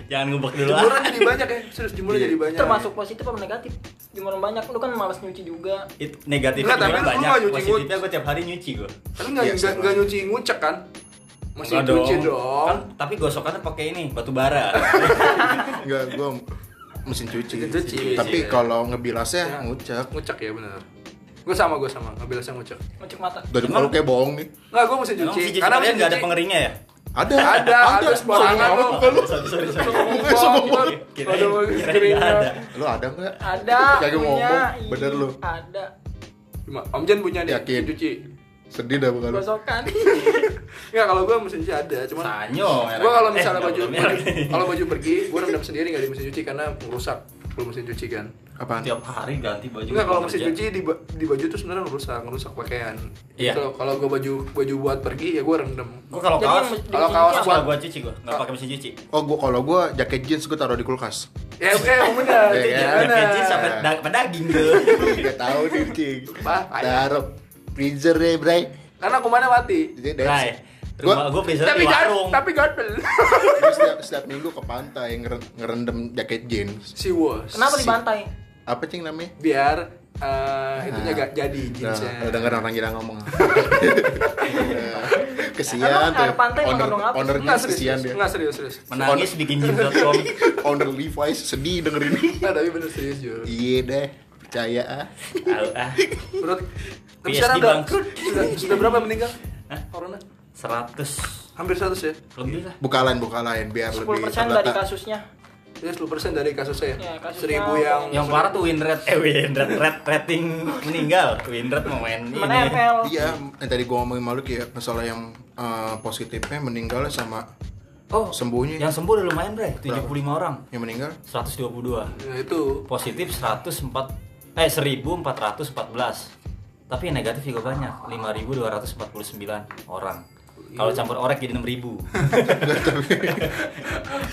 Speaker 3: Jangan ngubek dulu ah.
Speaker 1: jemuran jadi banyak ya serius jemuran
Speaker 2: Iya.
Speaker 1: jadi banyak
Speaker 4: Termasuk positif apa negatif? Jumlah banyak lu kan malas nyuci juga.
Speaker 3: It, negatifnya
Speaker 1: Enggak, tapi
Speaker 2: kan
Speaker 1: lu- lu
Speaker 3: juga banyak.
Speaker 1: nggak nyuci
Speaker 3: Positifnya gua tiap hari nyuci gua.
Speaker 1: kan nggak
Speaker 2: Iya,
Speaker 1: nggak
Speaker 2: sama.
Speaker 1: nggak nyuci ngucek kan masih
Speaker 3: Enggak
Speaker 1: nyuci dong,
Speaker 3: Kan, tapi gosokannya pakai ini, batu
Speaker 1: *laughs*
Speaker 3: bara.
Speaker 2: enggak gua mesin cuci
Speaker 1: Mesin cuci.
Speaker 2: tapi
Speaker 3: Iya.
Speaker 2: kalau ngebilasnya
Speaker 1: ngucek
Speaker 2: Kan? ngucek
Speaker 1: ngucek ya benar gue sama gue sama nggak bilasnya ngucek
Speaker 4: Ngecek mata.
Speaker 2: dari
Speaker 3: Emang-
Speaker 2: kalau kayak bohong nih
Speaker 1: nggak gue mesti
Speaker 3: Emang
Speaker 1: cuci
Speaker 3: cuci
Speaker 1: karena
Speaker 3: kalian
Speaker 1: mesin
Speaker 3: nggak ada
Speaker 1: cuci- Oh,
Speaker 3: pengeringnya ya? Oh,
Speaker 2: Ada,
Speaker 1: Ada, ada sembarangan
Speaker 2: Sombong
Speaker 1: lo.
Speaker 2: amat muka
Speaker 3: Sorry, sorry, sorry.
Speaker 2: Eh, sombong banget.
Speaker 3: Kirain-
Speaker 1: Aduh,
Speaker 3: kirain
Speaker 1: kirain
Speaker 3: nggak ada.
Speaker 2: Lu ada nggak?
Speaker 4: Ada.
Speaker 2: Kagak
Speaker 4: punya. iya.
Speaker 2: ngomong,
Speaker 4: Ih,
Speaker 2: bener lu.
Speaker 4: Ada.
Speaker 1: Cuma, Om Jan punya nih,
Speaker 2: Yakin?
Speaker 1: cuci.
Speaker 2: Sedih dah bukan lu.
Speaker 4: Gosokan.
Speaker 1: Enggak, kalau gue mesin cuci ada, cuman
Speaker 3: Sanyo.
Speaker 1: gue kalau misalnya
Speaker 3: Eh,
Speaker 1: baju
Speaker 3: nggak boleh merek.
Speaker 1: kalau baju pergi, gue rendam sendiri nggak di mesin cuci karena rusak kalau mesin cuci kan.
Speaker 2: Apaan?
Speaker 3: tiap hari ganti baju.
Speaker 1: Enggak kalau mesin
Speaker 3: kerja.
Speaker 1: cuci di, ba- di baju tuh sebenarnya rusak, rusak pakaian.
Speaker 3: Iya.
Speaker 1: Kalau kalau gue baju baju buat pergi ya gue rendam.
Speaker 3: Gua kalau
Speaker 4: Jadi
Speaker 3: kaos,
Speaker 4: yang mesin-
Speaker 1: Kalau
Speaker 4: di-
Speaker 1: kaos
Speaker 3: kaos
Speaker 1: buat
Speaker 3: gua gua cuci gua, enggak pakai mesin cuci.
Speaker 2: Oh, gua kalau gua jaket jeans gua taruh di kulkas.
Speaker 1: Ya oke,
Speaker 3: *laughs*
Speaker 1: bener. Itu
Speaker 2: Iya, iya.
Speaker 1: gimana?
Speaker 3: Pakai jeans sampai da- sampai daging tuh.
Speaker 2: Gak tahu nih, Cing.
Speaker 1: Bah, ayah.
Speaker 2: Taruh freezer deh, Bray.
Speaker 1: Karena kumannya mati.
Speaker 2: Jadi deh,
Speaker 3: Rai.
Speaker 2: Gua-
Speaker 3: Rumah gua freezer
Speaker 1: Tapi
Speaker 3: di
Speaker 1: kan,
Speaker 3: warung.
Speaker 1: tapi *laughs* gatel.
Speaker 2: gua setiap, setiap minggu ke pantai ngeren- ngerendam jaket jeans.
Speaker 1: Si Wos.
Speaker 4: Kenapa dibantai?
Speaker 2: Apa cing namanya?
Speaker 1: Biar eh, itunya gak jadi jeansnya.
Speaker 2: Ah. Nah, denger orang gila ngomong.
Speaker 4: Emang
Speaker 2: kesian
Speaker 4: ada pantai
Speaker 2: owner,
Speaker 4: ngomong apa?
Speaker 2: owner
Speaker 1: Enggak
Speaker 2: jeans
Speaker 1: serius,
Speaker 2: kesian
Speaker 1: serius.
Speaker 2: dia.
Speaker 1: Enggak serius, serius.
Speaker 3: Menangis bikin
Speaker 1: *laughs*
Speaker 3: jeans.com.
Speaker 2: Owner Levi's sedih dengerin.
Speaker 1: Nah, tapi bener serius Jul.
Speaker 2: Iya deh, percaya ah.
Speaker 3: Tahu ah.
Speaker 1: Menurut tapi
Speaker 3: PSD
Speaker 1: sekarang udah,
Speaker 3: bangkrut.
Speaker 1: sudah, sudah berapa yang meninggal?
Speaker 3: Hah?
Speaker 1: Corona?
Speaker 3: 100
Speaker 1: Hampir 100 ya?
Speaker 3: lebih lah.
Speaker 2: Buka lain, buka lain biar
Speaker 4: 10%
Speaker 2: lebih
Speaker 4: dari
Speaker 2: terdata.
Speaker 4: kasusnya.
Speaker 1: Jadi 10% dari kasus saya.
Speaker 4: Ya, kasusnya-
Speaker 1: Seribu yang
Speaker 3: Yang parah tuh win rate, eh win rate, rate rating meninggal. Win rate mau main ini.
Speaker 4: Mana ya, ML?
Speaker 2: Iya, yang tadi gua ngomongin malu ya masalah yang eh, positifnya meninggalnya sama
Speaker 3: Oh,
Speaker 2: sembuhnya.
Speaker 3: yang sembuh udah lumayan bre, 75 orang.
Speaker 2: yang meninggal
Speaker 3: 122.
Speaker 1: Ya, itu
Speaker 3: Positif 104 eh 1414. Tapi yang negatif juga banyak, 5249 orang. Kalau campur orek jadi 6000. Kan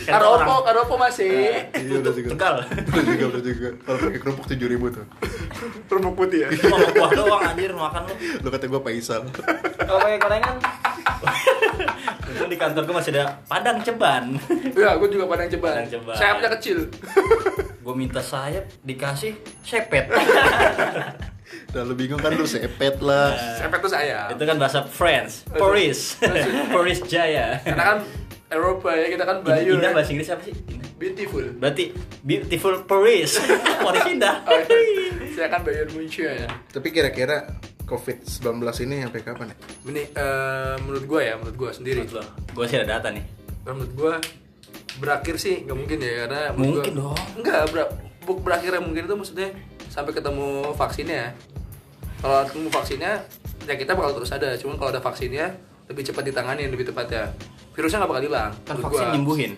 Speaker 1: Karopo,
Speaker 3: orang
Speaker 1: Karopo masih
Speaker 2: Iya udah juga.
Speaker 3: Tegal.
Speaker 2: Udah juga, udah juga. Kalau pakai kerupuk tujuh ribu tuh.
Speaker 1: Kerupuk
Speaker 3: *laughs*
Speaker 1: putih ya?
Speaker 3: Cuma mau buah doang anjir makan lu.
Speaker 2: Lu kata gua Paisal.
Speaker 4: Kalau pakai gorengan
Speaker 3: Untung di kantor gua masih ada padang ceban.
Speaker 1: Iya, aku juga padang ceban
Speaker 3: Padang ceban.
Speaker 1: Sayapnya kecil
Speaker 3: Gua minta sayap dikasih sepet.
Speaker 2: Udah lu bingung kan lu sepet lah.
Speaker 1: Sayapnya tuh sayap
Speaker 3: Iya. Itu kan bahasa France, Paris, *laughs* Paris Jaya.
Speaker 1: Karena kan Eropa ya, kita kan
Speaker 3: Indah,
Speaker 1: Bayu
Speaker 3: Indah
Speaker 1: ya.
Speaker 3: bahasa Inggris apa sih? Indah.
Speaker 1: Beautiful
Speaker 3: Berarti beautiful
Speaker 1: *laughs*
Speaker 3: Paris, Paris Indah.
Speaker 1: Oh, iya. Saya kan Bayern Munchen ya
Speaker 2: Tapi kira-kira COVID-19 ini sampai kapan ya?
Speaker 1: Ini eh, menurut gua ya, menurut gua sendiri
Speaker 3: Gue sih ada data nih.
Speaker 1: menurut gua berakhir sih nggak mungkin ya karena menurut
Speaker 3: Mungkin
Speaker 1: gua,
Speaker 3: dong.
Speaker 1: nggak ber- bu- berakhir yang mungkin itu maksudnya sampai ketemu vaksinnya ya. kalau ketemu vaksinnya ya kita bakal terus ada cuman kalau ada vaksinnya lebih cepat ditangani lebih tepatnya virusnya nggak bakal hilang
Speaker 3: Kan
Speaker 1: menurut
Speaker 3: vaksin
Speaker 1: gua.
Speaker 3: nyembuhin.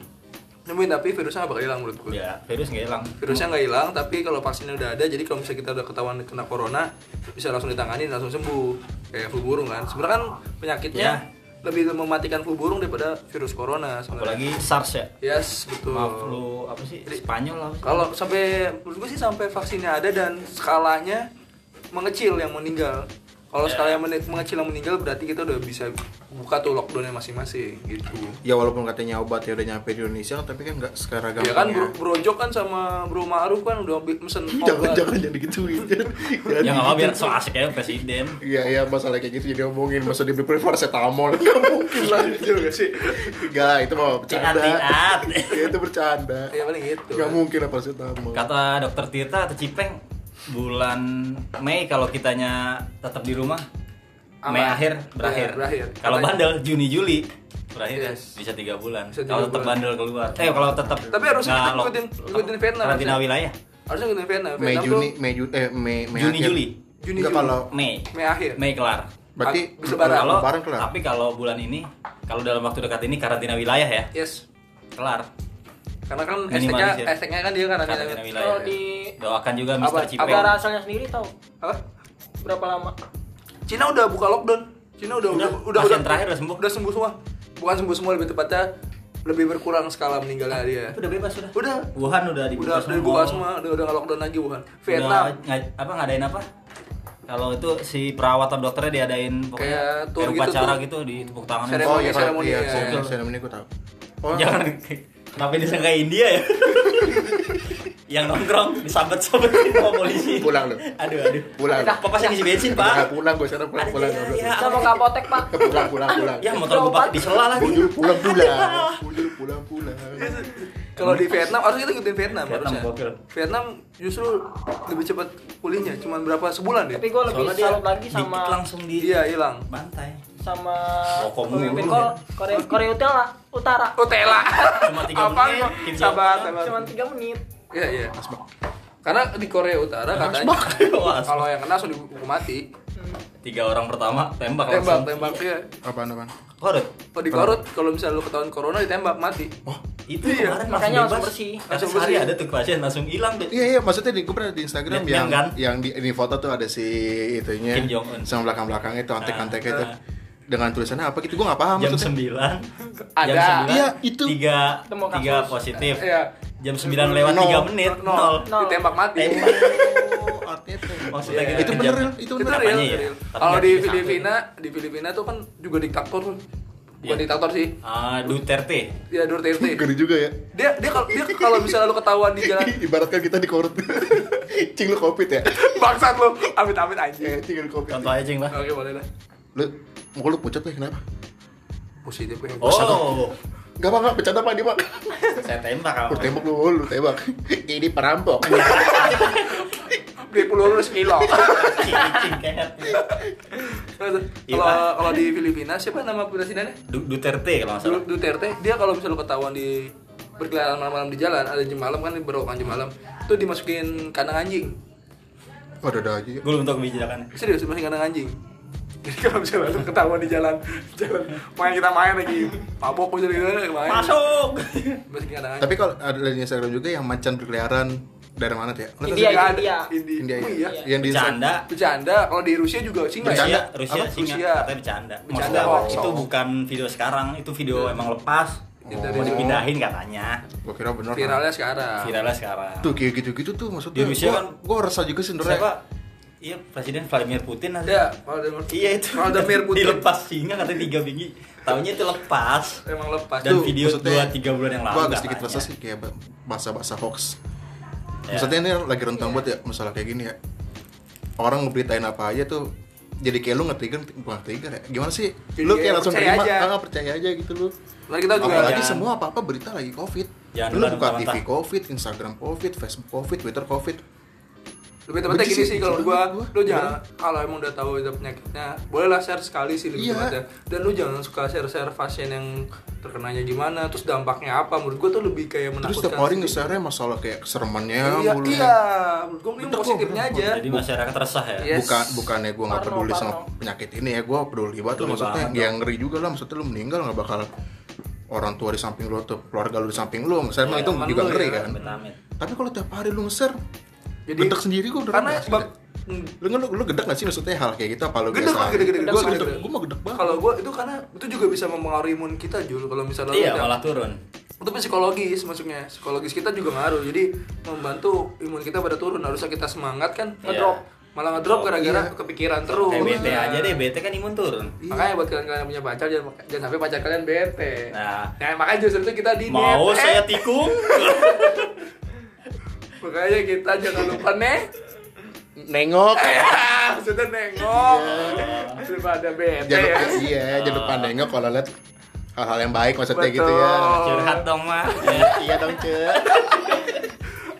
Speaker 1: Nyembuhin, tapi virusnya nggak bakal hilang menurut gua
Speaker 3: Ya, virus nggak hilang.
Speaker 1: virusnya nggak hilang tapi kalau vaksinnya udah ada jadi kalau misalnya kita udah ketahuan kena corona bisa langsung ditangani langsung sembuh kayak flu burung kan sebenarnya kan penyakitnya
Speaker 3: Ya.
Speaker 1: lebih mematikan flu burung daripada virus corona sebenarnya
Speaker 3: Apalagi SARS ya.
Speaker 1: Yes, betul.
Speaker 3: Maaf lu apa sih? Spanyol apa sih?
Speaker 1: Kalau sampai menurut gue sih sampai vaksinnya ada dan skalanya mengecil yang meninggal. Kalau skala yang mene- mengecil yang meninggal berarti kita udah bisa buka tuh lockdownnya masing-masing gitu.
Speaker 2: Ya walaupun katanya obat ya udah nyampe di Indonesia tapi kan nggak secara
Speaker 1: Ya kan
Speaker 2: gampang
Speaker 1: bro, Bro Jok kan sama Bro Ma'ruf kan udah ambil- mesen
Speaker 2: *laughs* Jangan
Speaker 1: obat.
Speaker 2: jangan jadi gituin.
Speaker 1: *laughs*
Speaker 3: Ya
Speaker 2: Jangan
Speaker 3: nggak apa
Speaker 2: gitu.
Speaker 3: biar so asik ya presiden.
Speaker 2: Iya iya masalah kayak gitu jadi omongin masa dibeli paracetamol *laughs* nggak mungkin
Speaker 1: *laughs*
Speaker 2: lah gitu juga sih. Enggak itu mau bercanda.
Speaker 3: Tiat-tiat.
Speaker 2: Ya, itu bercanda.
Speaker 1: Ya paling gitu.
Speaker 2: Nggak mungkin lah paracetamol.
Speaker 3: Kata dokter Tirta atau Cipeng bulan Mei kalau kitanya tetap di rumah
Speaker 1: Aman.
Speaker 3: Mei akhir berakhir.
Speaker 1: Ya, berakhir.
Speaker 3: Kalau
Speaker 1: Katanya.
Speaker 3: bandel Juni Juli berakhir ya,
Speaker 1: Yes.
Speaker 3: bisa tiga bulan.
Speaker 1: Bisa tiga
Speaker 3: Kalau tetap
Speaker 1: bulan.
Speaker 3: bandel keluar. Eh kalau tetap
Speaker 1: Tapi harusnya
Speaker 3: nggak
Speaker 1: kita
Speaker 3: lock-
Speaker 1: ikutin-
Speaker 3: apa?
Speaker 1: ikutin Vietnam
Speaker 3: Karantina
Speaker 1: harusnya.
Speaker 3: wilayah.
Speaker 1: Harusnya gitu Vietnam.
Speaker 2: Mei
Speaker 1: Vietnam
Speaker 2: Juni
Speaker 1: tuh
Speaker 2: Mei Ju- eh Mei Mei
Speaker 3: Juni
Speaker 2: akhir.
Speaker 3: Juli.
Speaker 1: Juni
Speaker 2: Nggak,
Speaker 1: Juli. Ah,
Speaker 2: kalau
Speaker 3: Mei.
Speaker 1: Mei akhir.
Speaker 3: Mei kelar.
Speaker 2: berarti
Speaker 1: Abis lebaran.
Speaker 2: kalau
Speaker 3: Kalau
Speaker 2: lebaran kelar.
Speaker 1: Ah,
Speaker 3: tapi kalau bulan ini kalau dalam waktu dekat ini karantina wilayah ya
Speaker 1: Yes.
Speaker 3: kelar.
Speaker 1: Karena kan hashtagnya,
Speaker 3: Minimalisir.
Speaker 1: hashtagnya kan dia kan ada
Speaker 3: Karantina ya. wilayah.
Speaker 4: kalau di
Speaker 3: Doakan juga
Speaker 1: Apa-
Speaker 3: Mr. Cipeng.
Speaker 4: negara asalnya sendiri tahu
Speaker 1: apa?
Speaker 4: berapa lama?
Speaker 1: Cina udah buka lockdown. Cina udah udah
Speaker 3: Udah,
Speaker 1: udah
Speaker 3: pasien terakhir udah sembuh.
Speaker 1: Udah sembuh semua. Bukan sembuh semua lebih tepatnya lebih berkurang skala meninggalnya dia.
Speaker 3: Ah, Itu udah bebas sudah.
Speaker 1: Udah.
Speaker 3: Wuhan udah dibuka
Speaker 1: Udah
Speaker 3: semua.
Speaker 1: udah dibuka semua, udah udah nggak lockdown lagi bukan. Vietnam
Speaker 3: Vietnam. apa ngadain apa? Kalau itu si perawat atau dokternya diadain
Speaker 1: Kayak
Speaker 3: pokoknya
Speaker 1: tour
Speaker 3: kayak
Speaker 1: gitu,
Speaker 3: upacara
Speaker 1: tour.
Speaker 3: gitu di tepuk tangan.
Speaker 1: Seremoni.
Speaker 2: Oh iya kalau
Speaker 1: seremoni,
Speaker 2: iya
Speaker 1: ya.
Speaker 2: seremoni seremoni gue tahu. Oh,
Speaker 3: Jangan *laughs* kenapa disangka India ya? *laughs* yang nongkrong disabet-sabet *laughs* sama polisi.
Speaker 2: Pulang lu.
Speaker 3: Aduh aduh.
Speaker 2: Pulang.
Speaker 3: Nah, papa saya ngisi bensin,
Speaker 2: Nggak,
Speaker 3: Pak.
Speaker 2: pulang gue sekarang pulang
Speaker 3: Aduh,
Speaker 2: pulang
Speaker 3: iya,
Speaker 2: pulang.
Speaker 3: iya.
Speaker 4: Kita mau ke apotek, Pak.
Speaker 2: pulang pulang pulang.
Speaker 3: Ya motor gua di sela lagi.
Speaker 2: Mundur pulang pulang. Mundur pulang pulang.
Speaker 3: Iya.
Speaker 1: kalau di Vietnam harusnya kita ikutin Vietnam,
Speaker 3: Vietnam
Speaker 1: harusnya.
Speaker 3: gokil.
Speaker 1: Vietnam justru lebih cepat pulihnya, cuman berapa sebulan deh.
Speaker 4: Tapi gue lebih
Speaker 3: Soalnya dia
Speaker 4: salut lagi
Speaker 3: dikit
Speaker 4: sama
Speaker 3: langsung di
Speaker 1: Iya hilang.
Speaker 3: bantai.
Speaker 4: sama
Speaker 3: Rokok
Speaker 4: pemimpin
Speaker 3: mulu.
Speaker 4: Ko- Korea Korea Utara Utara
Speaker 1: Utela.
Speaker 3: Cuma tiga menit, Kim Jong
Speaker 1: Sabar,
Speaker 3: Un.
Speaker 1: sabar.
Speaker 4: cuma 3 menit
Speaker 1: Iya, iya. Karena di Korea Utara katanya
Speaker 3: *laughs* Wah,
Speaker 1: kalau yang kena langsung dihukum mati.
Speaker 3: tiga orang pertama tembak
Speaker 1: Tembak,
Speaker 3: langsung
Speaker 1: tembak ya.
Speaker 2: Apaan apaan?
Speaker 3: Korek.
Speaker 1: Kalau di korut, kalau misalnya lu ketahuan corona ditembak mati.
Speaker 2: Oh.
Speaker 3: itu
Speaker 1: Iya,
Speaker 3: kemarin
Speaker 4: makanya
Speaker 3: langsung
Speaker 4: langsung
Speaker 3: bebas
Speaker 4: bersih.
Speaker 3: langsung
Speaker 1: Langsung
Speaker 3: sehari
Speaker 1: bersih.
Speaker 3: ada tuh pasien langsung hilang deh
Speaker 2: Iya iya maksudnya di gue pernah di Instagram
Speaker 3: Yang-
Speaker 2: yang
Speaker 3: yang kan?
Speaker 2: yang di ini foto tuh ada si itunya
Speaker 3: Kim Jong Un.
Speaker 2: sama belakang belakangnya itu antek anteknya itu
Speaker 3: Ah.
Speaker 2: dengan tulisannya apa gitu gue nggak paham
Speaker 3: jam
Speaker 2: maksudnya.
Speaker 3: sembilan
Speaker 1: Ada.
Speaker 3: jam sembilan,
Speaker 2: Iya, itu.
Speaker 3: tiga
Speaker 4: Temu kasus.
Speaker 3: tiga positif
Speaker 1: Iya.
Speaker 3: jam sembilan lewat
Speaker 2: Nol.
Speaker 3: tiga menit nol
Speaker 4: Nol.
Speaker 1: Ditembak mati.
Speaker 3: Tembak.
Speaker 2: Oh, artinya tuh.
Speaker 3: maksudnya gitu.
Speaker 1: Iya.
Speaker 3: kita
Speaker 2: Itu
Speaker 3: kejam.
Speaker 2: bener real, itu
Speaker 1: Itu
Speaker 2: bener.
Speaker 1: real.
Speaker 3: Apanya ya?
Speaker 1: real.
Speaker 3: Tapi
Speaker 1: Kalau
Speaker 3: nggak
Speaker 1: di
Speaker 3: bisa satu.
Speaker 1: Filipina, di Filipina tuh kan juga diktator kan. Bukan
Speaker 3: Iya.
Speaker 1: diktator sih.
Speaker 3: Ah, Duterte
Speaker 1: Ya Duterte.
Speaker 2: Ngeri juga ya.
Speaker 1: Dia dia kalau dia kalau misalnya lu ketahuan di
Speaker 3: *laughs*
Speaker 1: jalan
Speaker 2: Ibaratkan kita di korut. *laughs* Cing lu covid ya?
Speaker 1: bangsat lu. Amit-amit aja.
Speaker 2: Eh, cing lu covid.
Speaker 3: contoh aja cing lah
Speaker 1: Oke, boleh lah.
Speaker 2: Lu muka lu pucat ya kenapa?
Speaker 1: Positif ya.
Speaker 3: oh
Speaker 2: Gak apa-apa, bercanda apa dia pak?
Speaker 3: saya tembak kamu
Speaker 2: Lu tembak lu, lu tembak *laughs* Ini perampok
Speaker 1: Beli peluru lu
Speaker 3: *laughs*
Speaker 1: sekilo.
Speaker 3: *laughs* Iya. Cing, kayak.
Speaker 1: Kalau
Speaker 3: Iya.
Speaker 1: kalau di Filipina siapa nama presidennya?
Speaker 3: Du- Duterte kalau nggak salah
Speaker 1: Du- Duterte dia kalau misalnya lu ketahuan di berkeliaran malam-malam di jalan ada jam malam kan berokan jam malam tuh dimasukin kandang anjing
Speaker 2: Waduh, ada aja ya
Speaker 3: gue belum tahu kebijakannya
Speaker 1: serius dimasukin kandang anjing *laughs* jadi kalau misalnya lu ketahuan di jalan *laughs* jalan main kita main lagi mabok aja gitu main
Speaker 3: masuk
Speaker 1: dimasukin kandang anjing
Speaker 2: Tapi kalau ada di Instagram juga yang macan berkeliaran Dari mana tuh ya? Lu
Speaker 4: India,
Speaker 1: Nggak ada.
Speaker 4: India.
Speaker 1: India.
Speaker 2: India
Speaker 1: Oh,
Speaker 2: ya?
Speaker 1: iya.
Speaker 2: Yang di Instagram
Speaker 3: bercanda
Speaker 1: Bercanda, kalau di Rusia juga singa ya?
Speaker 2: Bercanda.
Speaker 3: Rusia, Rusia,
Speaker 2: Apa?
Speaker 3: singa,
Speaker 1: Rusia.
Speaker 3: katanya bercanda.
Speaker 1: Bercanda Oh.
Speaker 3: Maksudnya
Speaker 1: hoax.
Speaker 3: itu bukan video sekarang, itu video emang lepas.
Speaker 1: Itu Nah.
Speaker 3: Mau
Speaker 1: dari-
Speaker 3: dipindahin katanya.
Speaker 2: Gua kira bener
Speaker 1: Viralnya sekarang.
Speaker 3: Viralnya sekarang.
Speaker 2: Tuh kayak gitu-gitu tuh maksudnya
Speaker 3: Di Rusia
Speaker 2: gua,
Speaker 3: kan-
Speaker 2: Gua rasa juga sih
Speaker 3: Siapa?
Speaker 2: sebenernya
Speaker 3: Iya, Presiden Vladimir Putin nanti.
Speaker 1: Ya, Vladimir.
Speaker 3: Iya itu.
Speaker 1: Vladimir Putin.
Speaker 3: Dilepas singa katanya tiga minggu. Tahunya itu lepas.
Speaker 1: Emang lepas.
Speaker 3: Dan
Speaker 1: Tuh,
Speaker 3: video dua, tiga bulan yang lalu
Speaker 2: Gua agak sedikit
Speaker 3: katanya.
Speaker 2: rasa sih kayak ba- bahasa-bahasa hoax
Speaker 3: Ya.
Speaker 2: Maksudnya ini lagi rentang banget ya masalah kayak gini ya Orang ngeberitain apa aja tuh jadi kayak lu nge-trigger, bukan nge-trigger ya Gimana sih?
Speaker 1: Jadi
Speaker 2: lu
Speaker 1: kayak
Speaker 2: kayak langsung
Speaker 1: Iya, percaya
Speaker 2: terima,
Speaker 1: aja.
Speaker 2: ah, percaya aja gitu lu
Speaker 1: Nah, kita juga
Speaker 2: Apalagi
Speaker 3: Jangan-
Speaker 2: semua apa-apa berita lagi covid
Speaker 3: Jangan
Speaker 2: Lu buka
Speaker 3: bantah-bantah.
Speaker 2: TV covid, Instagram covid, Facebook covid, Twitter covid
Speaker 1: lebih tepatnya
Speaker 2: Benci
Speaker 1: gini
Speaker 2: sih, Iya.
Speaker 1: sih kalau
Speaker 2: benci
Speaker 1: gua,
Speaker 2: banget gua.
Speaker 1: lu jangan kalau emang udah tahu itu penyakitnya bolehlah share sekali sih lebih
Speaker 2: Iya.
Speaker 1: tepatnya dan lu jangan suka share share pasien yang terkenanya gimana terus dampaknya apa menurut gua tuh lebih kayak
Speaker 2: Terus
Speaker 1: menakutkan
Speaker 2: tiap hari
Speaker 1: sendiri.
Speaker 2: nge-share masalah kayak seremannya
Speaker 1: iya,
Speaker 2: mulu
Speaker 1: iya menurut gua mending
Speaker 2: Betul,
Speaker 1: positifnya
Speaker 2: betul.
Speaker 1: aja
Speaker 3: Jadi masyarakat resah ya.
Speaker 1: Yes.
Speaker 2: Bukan, bukannya gue gak
Speaker 4: Parno,
Speaker 2: peduli sama
Speaker 4: parno.
Speaker 2: penyakit ini ya Gue peduli
Speaker 3: Peduli
Speaker 2: banget lah maksudnya
Speaker 3: banget
Speaker 2: Yang ngeri juga lah, maksudnya lu meninggal gak bakal Orang tua di samping lu atau keluarga lu di samping lu Misalnya
Speaker 1: Iya,
Speaker 2: itu
Speaker 1: teman
Speaker 2: juga
Speaker 1: lu
Speaker 2: ngeri
Speaker 1: ya,
Speaker 2: kan
Speaker 3: Amit-amit.
Speaker 2: Tapi kalau tiap hari lu nge-share
Speaker 1: Jadi-
Speaker 2: Gedek sendiri gue udah
Speaker 1: karena
Speaker 2: rada asli
Speaker 1: bak,
Speaker 2: deh. lu, lu, lu gedek gak sih maksudnya hal kayak gitu apa lu
Speaker 1: gede
Speaker 2: biasa
Speaker 1: gede gede
Speaker 2: Gua gedek, gue mau gedek banget
Speaker 1: kalau gua itu karena itu juga bisa mempengaruhi imun kita Jul kalau misalnya lu
Speaker 3: Iya,
Speaker 1: udah-
Speaker 3: malah turun.
Speaker 1: itu psikologis maksudnya psikologis kita juga ngaruh jadi membantu imun kita pada turun harusnya kita semangat kan
Speaker 3: Iya.
Speaker 1: ngedrop malah ngedrop
Speaker 3: Drop.
Speaker 1: gara-gara kepikiran terus Iya.
Speaker 3: Kayak bete aja deh, bete kan imun turun.
Speaker 1: makanya buat kalian-kalian yang punya pacar jangan, jangan sampai pacar kalian bete
Speaker 3: Nah.
Speaker 1: Nah, makanya justru itu kita di
Speaker 3: Mau
Speaker 1: bete.
Speaker 3: saya
Speaker 2: *laughs*
Speaker 3: tikung?
Speaker 1: makanya kita jangan lupa nih
Speaker 2: Nengok
Speaker 1: maksudnya nengok
Speaker 3: Iya.
Speaker 1: daripada bete
Speaker 2: jangan
Speaker 1: ya
Speaker 2: lupa iya jangan lupa nengok kalau lihat hal-hal yang baik maksudnya gitu ya
Speaker 1: Betul.
Speaker 3: Curhat dong, Ya. mah.
Speaker 2: iya dong ce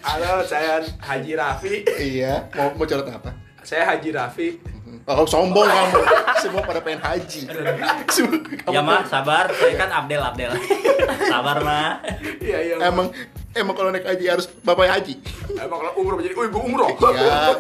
Speaker 1: halo saya Haji Raffi
Speaker 2: iya mau mau curhat apa
Speaker 1: saya Haji Raffi
Speaker 2: oh sombong kamu semua pada pengen haji Semua- kamu
Speaker 3: Ya, mah,
Speaker 2: tuh
Speaker 3: sabar. Saya kan Abdel,
Speaker 2: *laughs*
Speaker 3: Abdel. Sabar, mah.
Speaker 1: iya iya
Speaker 2: emang emang kalau naik haji harus bapak haji
Speaker 1: emang kalau umroh jadi wih gua umroh
Speaker 2: iya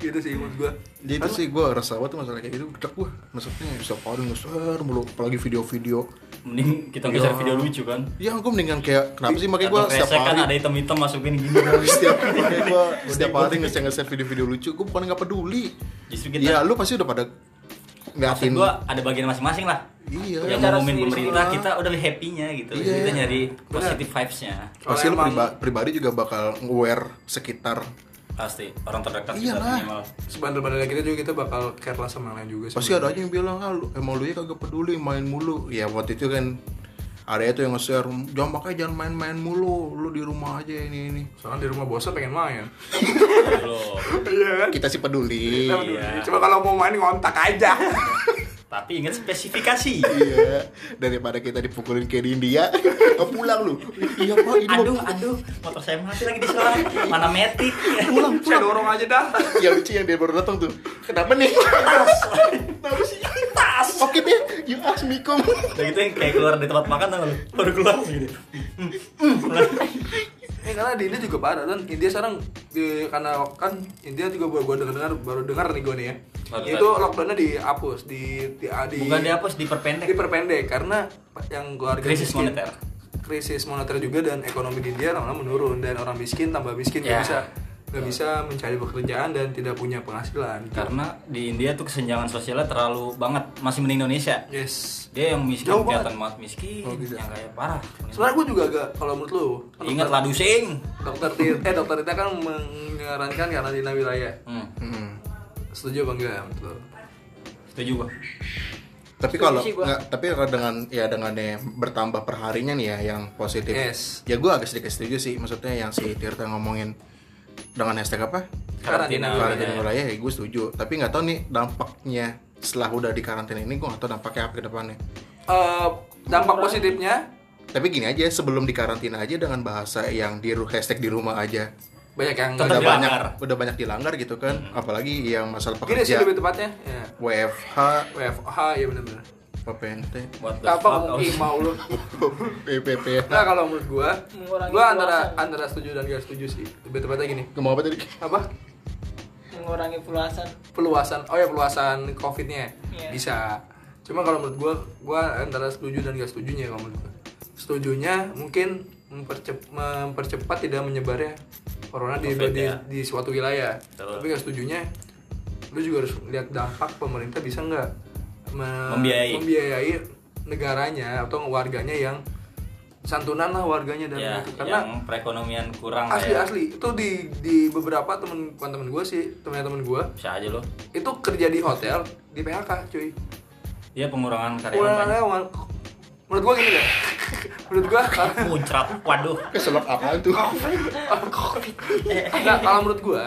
Speaker 1: gitu sih menurut gua
Speaker 2: jadi itu sih gue rasa banget tuh masalah kayak gitu gedek gue maksudnya bisa paling ngeser mulu apalagi video-video
Speaker 3: Mending kita geser video lucu kan.
Speaker 2: ya gue mendingan kayak kenapa sih makanya gue
Speaker 3: Atau
Speaker 2: setiap
Speaker 3: kresek kan ada
Speaker 2: *laughs* hari
Speaker 3: hitam-hitam masukin gini.
Speaker 2: setiap makanya gue setiap hari ngeser-ngeser video-video lucu gue bukan nggak peduli
Speaker 3: Justru kita
Speaker 2: Iya, lu pasti udah pada
Speaker 3: maksud
Speaker 2: ngeliatin.
Speaker 3: gua ada bagian masing-masing lah.
Speaker 2: Iya.
Speaker 3: Yang
Speaker 4: Cara
Speaker 3: ngumumin
Speaker 4: sendiri
Speaker 3: pemerintah
Speaker 2: semua.
Speaker 3: kita udah happy-nya gitu.
Speaker 2: Iya.
Speaker 3: Kita nyari positive vibes-nya.
Speaker 2: Pasti lu
Speaker 1: Kalau
Speaker 2: priba- pribadi juga bakal aware sekitar.
Speaker 3: Pasti orang terdekat kita
Speaker 2: Iyalah.
Speaker 3: minimal.
Speaker 1: sebandel-bandelnya kita juga kita bakal careless sama yang lain juga sih.
Speaker 2: Pasti ada aja yang bilang, ah, lu, emang lu ya kagak peduli main mulu. Ya waktu itu kan ada itu yang nge-share, jangan makanya jangan main-main mulu, lu di rumah aja ini ini.
Speaker 1: Soalnya di rumah bosan pengen main.
Speaker 3: Belum.
Speaker 1: *laughs* Iya kan?
Speaker 2: Kita sih *laughs* peduli.
Speaker 3: Iya.
Speaker 1: Coba kalau mau main kontak aja.
Speaker 3: Tapi ingat spesifikasi.
Speaker 2: iya, daripada kita dipukulin kayak di India, *laughs* nggak pulang lu. Iya pak, ini
Speaker 3: aduh,
Speaker 2: mau-
Speaker 3: aduh, motor saya mati lagi di selang. Mana metik?
Speaker 2: pulang,
Speaker 1: Saya
Speaker 2: pulang. Iya,
Speaker 1: dorong aja dah.
Speaker 2: ya, *laughs* Yang lucu yang dia baru datang tuh, kenapa nih? Kenapa sih? Oke deh, you ask me come.
Speaker 3: Udah gitu yang kayak keluar dari tempat makan tau gak lu Baru keluar langsung gitu
Speaker 1: Ini Eh, karena di India juga parah kan India sekarang di, karena kan India juga baru baru dengar baru dengar nih gue nih ya.
Speaker 3: Baru
Speaker 1: itu lockdownnya dihapus di di, ah, di
Speaker 3: Bukan dihapus, diperpendek
Speaker 1: diperpendek karena yang keluarga
Speaker 3: Krisis
Speaker 1: miskin-
Speaker 3: moneter.
Speaker 1: krisis moneter juga dan ekonomi di India lama-lama menurun dan orang miskin tambah miskin nggak
Speaker 3: Ya.
Speaker 1: bisa nggak bisa mencari pekerjaan dan tidak punya penghasilan
Speaker 3: Karena di India tuh kesenjangan sosialnya terlalu banget Masih mending Indonesia
Speaker 1: yes
Speaker 3: Dia yang miskin,
Speaker 1: Jauh banget.
Speaker 3: kelihatan banget miskin
Speaker 1: Oh, gitu.
Speaker 3: Yang kayak parah
Speaker 1: sebenarnya gue juga agak kalau menurut lu
Speaker 3: Ingat lah dusing
Speaker 1: dokter Tir- eh dokter Tita kan menyarankan karantina wilayah
Speaker 3: hmm,
Speaker 2: Hmm.
Speaker 1: setuju apa enggak betul
Speaker 3: Setuju gua
Speaker 2: Tapi kalau
Speaker 4: Setuju sih gua.
Speaker 2: nggak, tapi kalau dengan ya dengan yang bertambah perharinya nih ya yang positif.
Speaker 1: Yes.
Speaker 2: Ya gue agak sedikit setuju sih, maksudnya yang si Tirta ngomongin dengan hashtag apa?
Speaker 1: Karantina
Speaker 3: Karantina
Speaker 2: karantina
Speaker 3: wilayah.
Speaker 2: wilayah ya gue setuju tapi nggak tahu nih dampaknya setelah udah di karantina ini gue nggak tahu dampaknya apa ke depannya
Speaker 1: Eh, dampak positifnya
Speaker 2: tapi gini aja sebelum di karantina aja dengan bahasa yang di ru- hashtag di rumah aja
Speaker 1: banyak yang
Speaker 3: Tetap
Speaker 2: udah
Speaker 1: nggak-
Speaker 3: dilanggar.
Speaker 2: banyak udah banyak dilanggar gitu kan apalagi yang masalah
Speaker 1: gini sih
Speaker 2: pekerja
Speaker 1: lebih tepatnya ya.
Speaker 2: WFH
Speaker 1: WFH ya benar-benar
Speaker 2: PPNT
Speaker 3: What the
Speaker 1: apa
Speaker 3: fuck
Speaker 1: mungkin mau lu
Speaker 2: PPP
Speaker 1: nah kalau menurut gua
Speaker 4: Mengurangi
Speaker 1: gua antara
Speaker 4: kepuasan.
Speaker 1: antara setuju dan gak setuju sih lebih tepatnya gini
Speaker 2: ngomong apa tadi
Speaker 1: apa
Speaker 4: mengurangi pulasan
Speaker 1: peluasan oh ya peluasan covidnya ya?
Speaker 4: Iya.
Speaker 1: bisa cuma kalau menurut gua gua antara setuju dan gak setujunya kalau menurut gua setujunya mungkin mempercep- mempercepat tidak menyebarnya corona di,
Speaker 3: Covid,
Speaker 1: di,
Speaker 3: ya.
Speaker 1: di suatu wilayah
Speaker 3: Betul.
Speaker 1: tapi gak setujunya lu juga harus lihat dampak pemerintah bisa nggak me-
Speaker 3: Membiayai.
Speaker 1: membiayai negaranya atau warganya yang santunan lah warganya dan
Speaker 3: Ya,
Speaker 1: itu. karena
Speaker 3: yang perekonomian kurang lah
Speaker 1: asli
Speaker 3: ya
Speaker 1: asli itu di di beberapa temen bukan temen gue sih teman-teman gue
Speaker 3: Bisa aja loh
Speaker 1: itu kerja di hotel di PHK cuy
Speaker 3: Dia Iya, pengurangan karyawan
Speaker 1: Ulang
Speaker 3: banyak
Speaker 1: karyawan menurut gua gini deh menurut gua
Speaker 3: Muncrat, waduh
Speaker 2: keselak apaan tuh
Speaker 1: nggak kalau menurut gua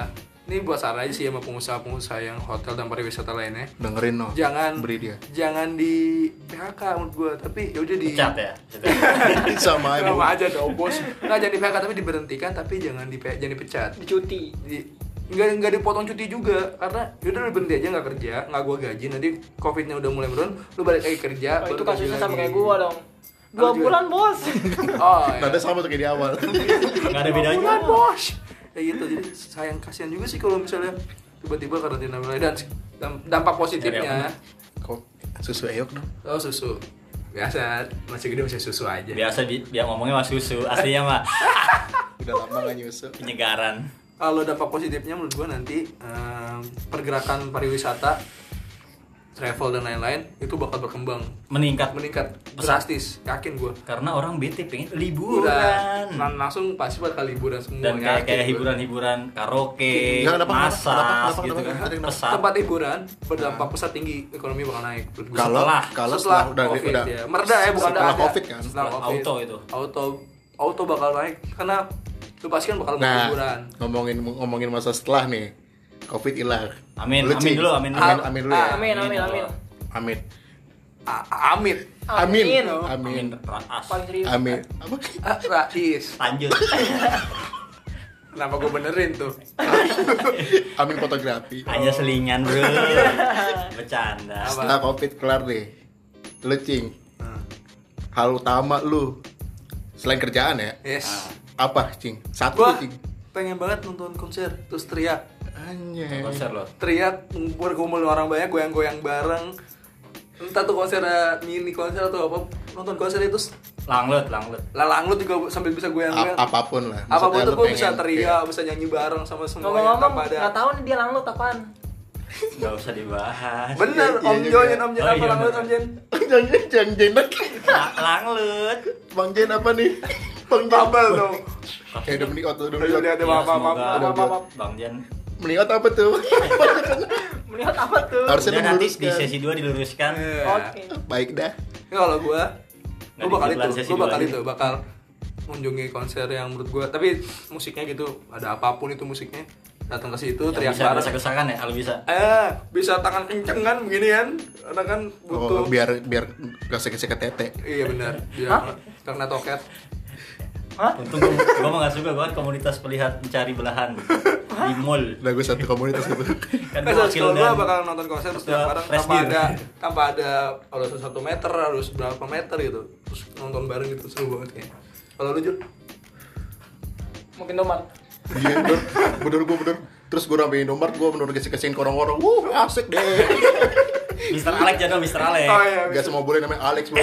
Speaker 1: ini buat saran aja sih sama pengusaha-pengusaha yang hotel dan pariwisata lainnya
Speaker 2: dengerin no
Speaker 1: jangan
Speaker 2: beri
Speaker 1: *laughs*
Speaker 2: dia
Speaker 1: jangan di PHK menurut gua tapi ya udah di
Speaker 3: Pecat ya
Speaker 2: sama aja
Speaker 1: sama aja dong bos nggak jadi PHK tapi diberhentikan tapi jangan di jangan dipecat
Speaker 4: dicuti
Speaker 1: di nggak nggak dipotong cuti juga karena yaudah lu berhenti aja nggak kerja nggak gua gaji nanti covidnya udah mulai menurun lu balik lagi kerja
Speaker 4: oh,
Speaker 1: baru
Speaker 4: itu
Speaker 1: gaji
Speaker 4: kasusnya sama
Speaker 1: lagi.
Speaker 4: kayak gua dong dua
Speaker 1: juga.
Speaker 4: bulan bos
Speaker 1: *laughs* oh iya.
Speaker 2: Tanda sama tuh kayak di awal
Speaker 3: Gak ada bedanya
Speaker 1: Bulan bos. Kayak gitu. Jadi sayang kasihan juga sih kalau misalnya tiba-tiba karantina mulai dan dam- dampak positifnya.
Speaker 2: kok susu eyok dong
Speaker 1: Oh susu. Biasa masih gede masih susu aja.
Speaker 3: Biasa bi- dia ngomongnya mas susu Aslinya mah
Speaker 2: udah lama gak nyusu
Speaker 3: penyegaran
Speaker 1: Kalau dampak positifnya menurut gua nanti em, pergerakan pariwisata, travel dan lain-lain itu bakal berkembang
Speaker 3: Meningkat
Speaker 1: meningkat
Speaker 3: Pesat.
Speaker 1: drastis yakin gua.
Speaker 3: Karena orang bete pengen liburan
Speaker 1: Udah lang- langsung pasti bakal liburan semua.
Speaker 3: Dan
Speaker 1: yakin
Speaker 3: kayak kayak
Speaker 1: gua.
Speaker 3: hiburan-hiburan karaoke,
Speaker 2: Nggak, Iya, kenapa,
Speaker 3: masak
Speaker 2: kenapa, kenapa,
Speaker 3: gitu
Speaker 2: kenapa,
Speaker 3: kan
Speaker 2: kenapa, kenapa?
Speaker 3: Pesat
Speaker 1: tempat hiburan berdampak pesat tinggi ekonomi bakal naik menurut gua.
Speaker 2: kalau
Speaker 3: Setelah-
Speaker 1: setelah
Speaker 2: kalau setelah udah
Speaker 1: COVID
Speaker 2: udah
Speaker 1: ya. mereda ya bukan
Speaker 2: setelah
Speaker 1: ada.
Speaker 2: covid kan
Speaker 1: Setelah
Speaker 3: Setelah
Speaker 1: COVID.
Speaker 3: auto itu.
Speaker 1: auto auto bakal naik karena lu pasti kan bakal mau
Speaker 2: Nah,
Speaker 1: liburan
Speaker 2: ngomongin ngomongin masa setelah nih. Covid hilang.
Speaker 3: Amin,
Speaker 2: Lu,
Speaker 3: amin
Speaker 2: Ci.
Speaker 3: dulu, amin dulu.
Speaker 2: Amin, amin dulu ya.
Speaker 4: Ah, amin amin amin
Speaker 2: Amin.
Speaker 1: A- amit
Speaker 2: Amin. Amin.
Speaker 4: Amin.
Speaker 3: Amin, raas
Speaker 4: paling serius
Speaker 2: Amin. Apa? *laughs*
Speaker 1: Ah, Rais
Speaker 3: Lanjut
Speaker 1: kenapa gue benerin tuh
Speaker 2: Amin fotografi.
Speaker 3: Hanya selingan bro
Speaker 1: *laughs*
Speaker 3: Bercanda
Speaker 1: Apa?
Speaker 2: Setelah Covid kelar nih. Lu cing,
Speaker 1: Nah,
Speaker 2: hal utama lu selain kerjaan ya,
Speaker 1: yes
Speaker 2: apa cing? Satu
Speaker 1: gua
Speaker 2: cing.
Speaker 1: pengen banget nonton konser terus teriak
Speaker 2: Anjay.
Speaker 3: Konser loh
Speaker 1: teriak bergumul orang banyak goyang-goyang bareng entah tuh konser eh, mini konser atau apa nonton konser itu s-
Speaker 3: Langlut, langlut
Speaker 1: lalang lu juga sambil bisa
Speaker 2: A-
Speaker 1: goyang-goyang
Speaker 2: apapun lah.
Speaker 1: apapun
Speaker 2: Maksudnya
Speaker 1: tuh
Speaker 2: lu
Speaker 1: gue
Speaker 2: pengen
Speaker 1: bisa
Speaker 2: kayak- *laughs*
Speaker 1: teriak bisa nyanyi bareng sama semua yang
Speaker 4: ngomong-ngomong
Speaker 1: tanpa ada
Speaker 4: nggak tahu nih dia langlut apaan
Speaker 3: Gak usah dibahas
Speaker 1: bener
Speaker 2: Iya, iya
Speaker 1: om
Speaker 2: juga.
Speaker 1: Joyen om Joyen
Speaker 3: Oh,
Speaker 1: apa
Speaker 3: iya,
Speaker 1: langlut
Speaker 3: bener.
Speaker 1: om Joyen
Speaker 2: Jangan jangan jenak.
Speaker 3: La- Langlut
Speaker 2: Bang Jen apa nih? Bang Jen.
Speaker 1: bubble tuh
Speaker 2: Kayak udah meniot tuh,
Speaker 1: Udah,
Speaker 2: udah
Speaker 1: udah, udah.
Speaker 2: meniot.
Speaker 3: Ya,
Speaker 1: maaf, maaf,
Speaker 3: semoga
Speaker 1: maaf, maaf, maaf.
Speaker 3: Bang Jan
Speaker 2: Meniot apa tuh? *laughs*
Speaker 4: melihat apa tuh
Speaker 2: Harusnya
Speaker 3: Udah
Speaker 2: lu
Speaker 3: nanti di
Speaker 2: meluruskan.
Speaker 3: sesi 2 diluruskan
Speaker 4: oke
Speaker 2: Baik dah.
Speaker 1: Ini kalau gue
Speaker 3: Nggak
Speaker 1: gue bakal
Speaker 3: di bulan
Speaker 1: itu
Speaker 3: sesi
Speaker 1: gue bakal
Speaker 3: dua ini.
Speaker 1: itu bakal mengunjungi konser yang menurut gue tapi musiknya gitu ada apapun itu musiknya datang ke situ
Speaker 3: Yang
Speaker 1: teriak
Speaker 3: bisa
Speaker 1: bareng
Speaker 3: kesakan ya, kalau bisa
Speaker 1: eh bisa tangan kenceng kan begini kan karena kan butuh
Speaker 2: Oh, biar biar gak sekece ke tete.
Speaker 1: iya benar biar karena toket
Speaker 4: Hah?
Speaker 3: Untung gua, gua mah gak suka, gua kan komunitas pelihat mencari
Speaker 1: *laughs*
Speaker 3: belahan di mall.
Speaker 2: Nah gue satu komunitas gitu.
Speaker 1: Kan
Speaker 3: Kan
Speaker 1: kalau
Speaker 3: gua wakil
Speaker 1: gua
Speaker 3: dan
Speaker 1: bakal nonton konser terus tiap
Speaker 3: Udah
Speaker 1: bareng
Speaker 3: fresh
Speaker 1: tanpa
Speaker 3: deal.
Speaker 1: ada tanpa ada harus satu meter harus berapa meter gitu terus nonton bareng gitu seru banget kayaknya. Kalau lu Jul?
Speaker 4: Mungkin nomor.
Speaker 2: Iya bener, bener gue bener. Terus gue ramein Indomaret, gue bener gesek-gesekin ke orang-orang. Wuh asik deh.
Speaker 3: Mr. Alex jangan Mr. Alex.
Speaker 1: Oh, iya.
Speaker 2: Gak semua boleh namanya Alex bro.